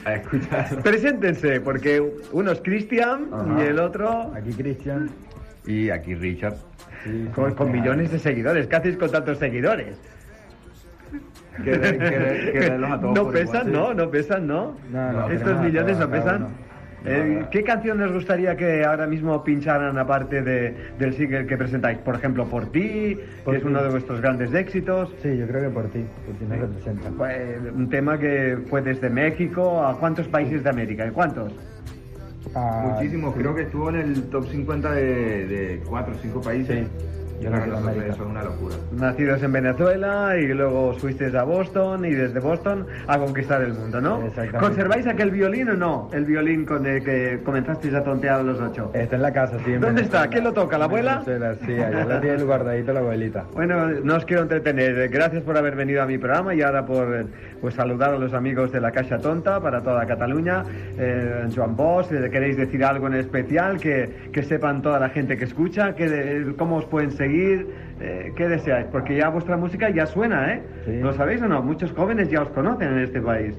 [SPEAKER 5] a escuchar.
[SPEAKER 3] Preséntense, porque uno es Cristian
[SPEAKER 5] Ajá.
[SPEAKER 3] y el otro...
[SPEAKER 5] Aquí Cristian. Y aquí Richard.
[SPEAKER 3] Con, con millones de seguidores. ¿Qué hacéis con tantos seguidores?
[SPEAKER 5] Querer- querer- quererlos a todos
[SPEAKER 3] no
[SPEAKER 5] por
[SPEAKER 3] pesan,
[SPEAKER 5] igual,
[SPEAKER 3] ¿no?
[SPEAKER 5] sí.
[SPEAKER 3] No pesan, ¿no?
[SPEAKER 5] No, no,
[SPEAKER 3] Estos
[SPEAKER 5] queremos a
[SPEAKER 3] millones
[SPEAKER 5] todos,
[SPEAKER 3] no
[SPEAKER 5] a cada
[SPEAKER 3] pesan.
[SPEAKER 5] uno.
[SPEAKER 3] Eh,
[SPEAKER 5] no.
[SPEAKER 3] ¿Qué canción les gustaría que ahora mismo pincharan aparte de- del single que presentáis? Por ejemplo, Por ti, que es uno de vuestros grandes éxitos.
[SPEAKER 5] Sí, yo creo que por ti, por ti me representa.
[SPEAKER 3] Fue un tema que fue desde México a cuántos países de América, ¿y cuántos?
[SPEAKER 5] Muchísimo, creo que estuvo en el top 50 de, de 4 o 5 países.
[SPEAKER 20] Yo creo que nosotros eso es una locura.
[SPEAKER 3] Nacidos en Venezuela y luego fuisteis a Boston y desde Boston a conquistar el mundo, ¿no? ¿Conserváis aquel violín o no? El violín con el que comenzasteis a tontear a los ocho.
[SPEAKER 20] Está en la casa, sí. en
[SPEAKER 3] ¿Dónde
[SPEAKER 20] Venezuela.
[SPEAKER 3] está? ¿Quién lo toca? ¿La
[SPEAKER 20] En
[SPEAKER 3] abuela?
[SPEAKER 20] Venezuela, sí, allá la tiene guardadito la abuelita.
[SPEAKER 3] Bueno, no os quiero entretener. Gracias por haber venido a mi programa y ahora por eh, pues, saludar a los amigos de la Caixa Tonta para toda Cataluña. Eh, Joan Bosch, eh, ¿queréis decir algo en especial? Que, que sepan toda la gente que escucha, que de- eh, cómo os pueden seguir, eh, qué deseáis. Porque ya vuestra música ya suena, ¿eh? ¿Lo sabéis o no? Muchos jóvenes ya os conocen en este país.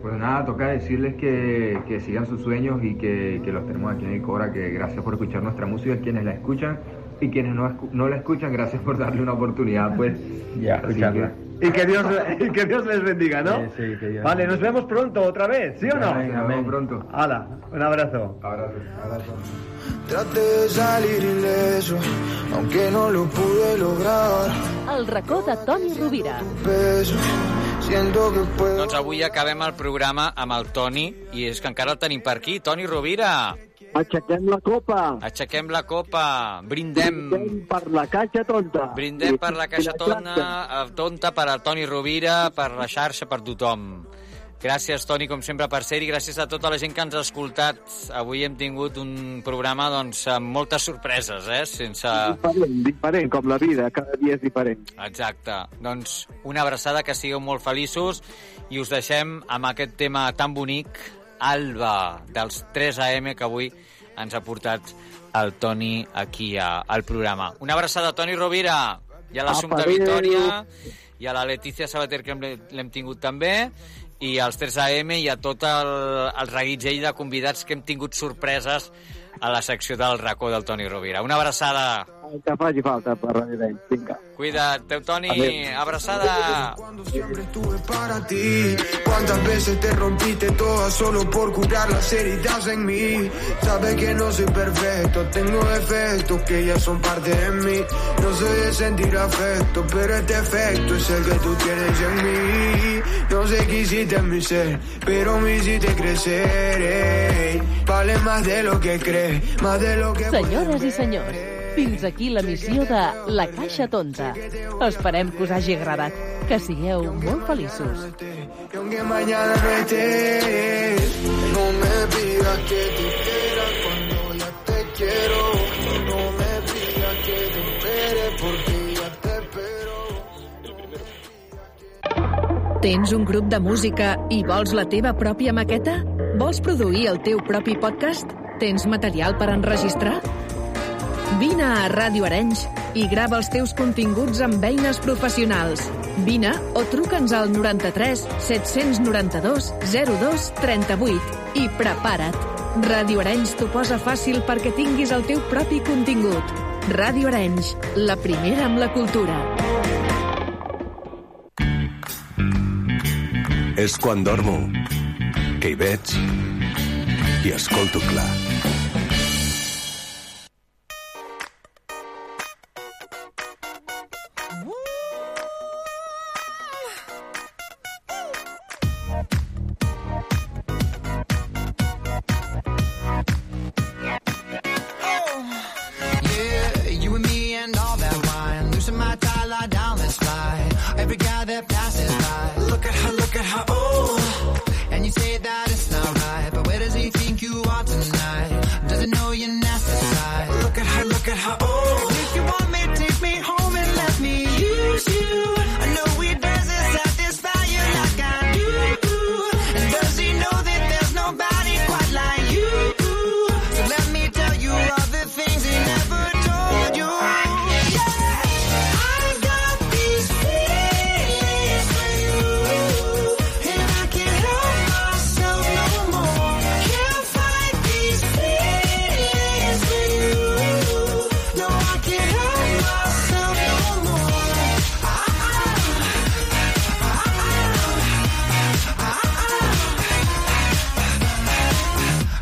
[SPEAKER 20] Pues nada, toca decirles que, que sigan sus sueños y que, que los tenemos aquí en el Cora, que gracias por escuchar nuestra música, quienes la escuchan y quienes no, escu- no la escuchan, gracias por darle una oportunidad, pues. Ya,
[SPEAKER 3] escucharla. Y que Dios, y que Dios les bendiga, ¿no?
[SPEAKER 20] Sí, sí, que Dios-
[SPEAKER 3] Vale, nos vemos pronto otra vez, ¿sí o no?
[SPEAKER 20] Amén, amén.
[SPEAKER 3] pronto. Hala, un abrazo.
[SPEAKER 20] abrazo.
[SPEAKER 5] Traté de salir ileso, aunque no lo pude lograr.
[SPEAKER 14] El racó de Toni Rovira.
[SPEAKER 5] Peso, siento que puedo.
[SPEAKER 11] Doncs avui acabem el programa amb el Toni, i és que encara el tenim per aquí. Toni Rovira,
[SPEAKER 6] Aixequem la copa.
[SPEAKER 11] aixequem la copa, brindem,
[SPEAKER 6] Brindem per la caixa tonta.
[SPEAKER 11] brindem per la Caixa Tona, eh, Tonta, per al Toni Rovira, per la xarxa, per tothom. Gràcies, Toni, com sempre, per ser-hi. Gràcies a tota la gent que ens ha escoltat. Avui hem tingut un programa doncs, amb moltes sorpreses, eh? Sense...
[SPEAKER 6] Diferent, diferent, com la vida, cada dia és diferent.
[SPEAKER 11] Exacte. Doncs una abraçada, que sigueu molt feliços i us deixem amb aquest tema tan bonic, Alba, dels 3 AM, que avui ens ha portat el Toni aquí a, al programa. Una abraçada, Toni Rovira, i a l'Assumpta
[SPEAKER 6] Apa, adéu.
[SPEAKER 11] Vitoria, i a la Letícia Sabater, que hem- l'hem tingut també, i als 3 AM i a tot el, el reguitzell de convidats que hem tingut sorpreses a la secció del racó del Toni Rovira. Una abraçada.
[SPEAKER 6] El que faci falta per Ràdio Dent. Vinga.
[SPEAKER 11] Cuida't, teu Toni.
[SPEAKER 6] Adéu.
[SPEAKER 11] Abraçada.
[SPEAKER 5] Siempre estuve para ti. ¿Cuántas veces te rompiste todas solo por curar las heridas en mí? Sabes que no soy perfecto, tengo defectos que ya son parte de mí. No sé de sentir afecto, pero este efecto es el que tú tienes en mí. No sé qué hiciste en mi ser, pero me hiciste crecer. ey. Vale más de lo que crees, más de lo que
[SPEAKER 14] Senyores i senyors, fins aquí la missió de La Caixa Tonta. Esperem que us hagi agradat, que sigueu molt feliços.
[SPEAKER 5] Y aunque mañana no estés, no me pidas que te quiera cuando ya te quiero. No me pidas que te espere porque ya te espero.
[SPEAKER 4] Tens un grup de música i vols la teva pròpia maqueta? Vols produir el teu propi podcast? Tens material per enregistrar? Vine a Ràdio Arenys i grava els teus continguts amb eines professionals. Vine o truca'ns al 93 792 02 38 i prepara't. Ràdio Arenys t'ho posa fàcil perquè tinguis el teu propi contingut. Ràdio Arenys, la primera amb la cultura.
[SPEAKER 1] És quan dormo que hi veig i escolto clar.
[SPEAKER 7] Yeah, you and me and all that wine. Loosen my tie, lie down, let's slide. Every guy that passes by, look at her, look at her, oh. And you say that it's not right, but where does he think you are tonight? Doesn't know your nasty side. Look at her, look at her, oh. If you want me, take me home and let me use you. I know we doesn't satisfy you like I do. And does he know that there's nobody quite like you? So let me tell you all the things he never told you. Yeah, I got these feelings for you, and I can't help myself no more. Can't fight these feelings for you. No, I can't help myself no more.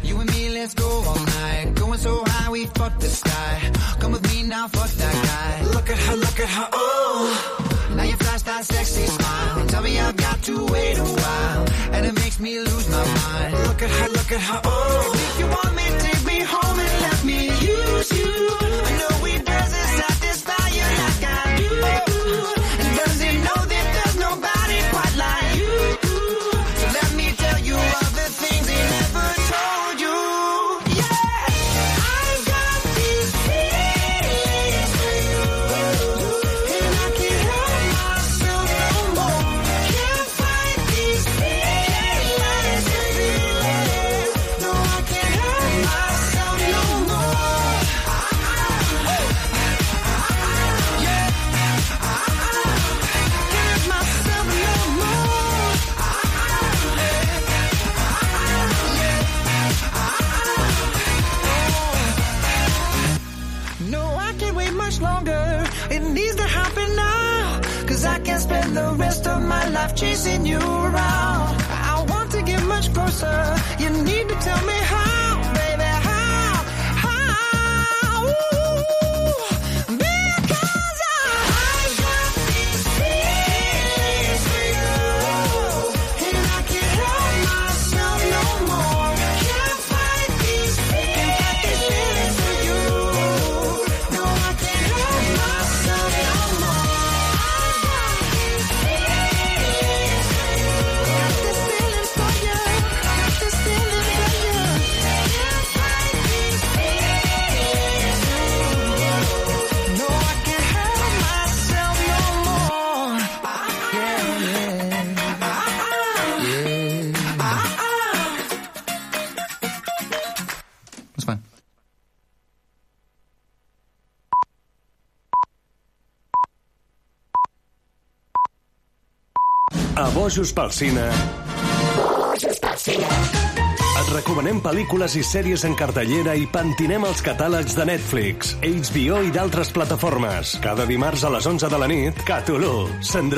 [SPEAKER 7] You and me, let's go all night. Going so high, we fuck the sky. Come with me now, fuck that guy. Look at her, look at her, oh. Now you flash that sexy smile. Tell me I've got to wait a while. And it makes me lose my mind. Look at her, look at her, oh. If you want me, take me home and let me use you. I know we doesn't satisfy you you around. I want to get much closer. You need to tell me how, baby, how, how. Ooh, because I, I got these feelings for you, and I can't help myself no more. Can't fight these feelings. Can't fight these feelings for you. No, I can't help myself no more.
[SPEAKER 1] A Bojos pel Cine et recomanem pel·lícules i sèries en cartellera i pentinem els catàlegs de Netflix, HBO i d'altres plataformes. Cada dimarts a les 11 de la nit, Catulú, Sandro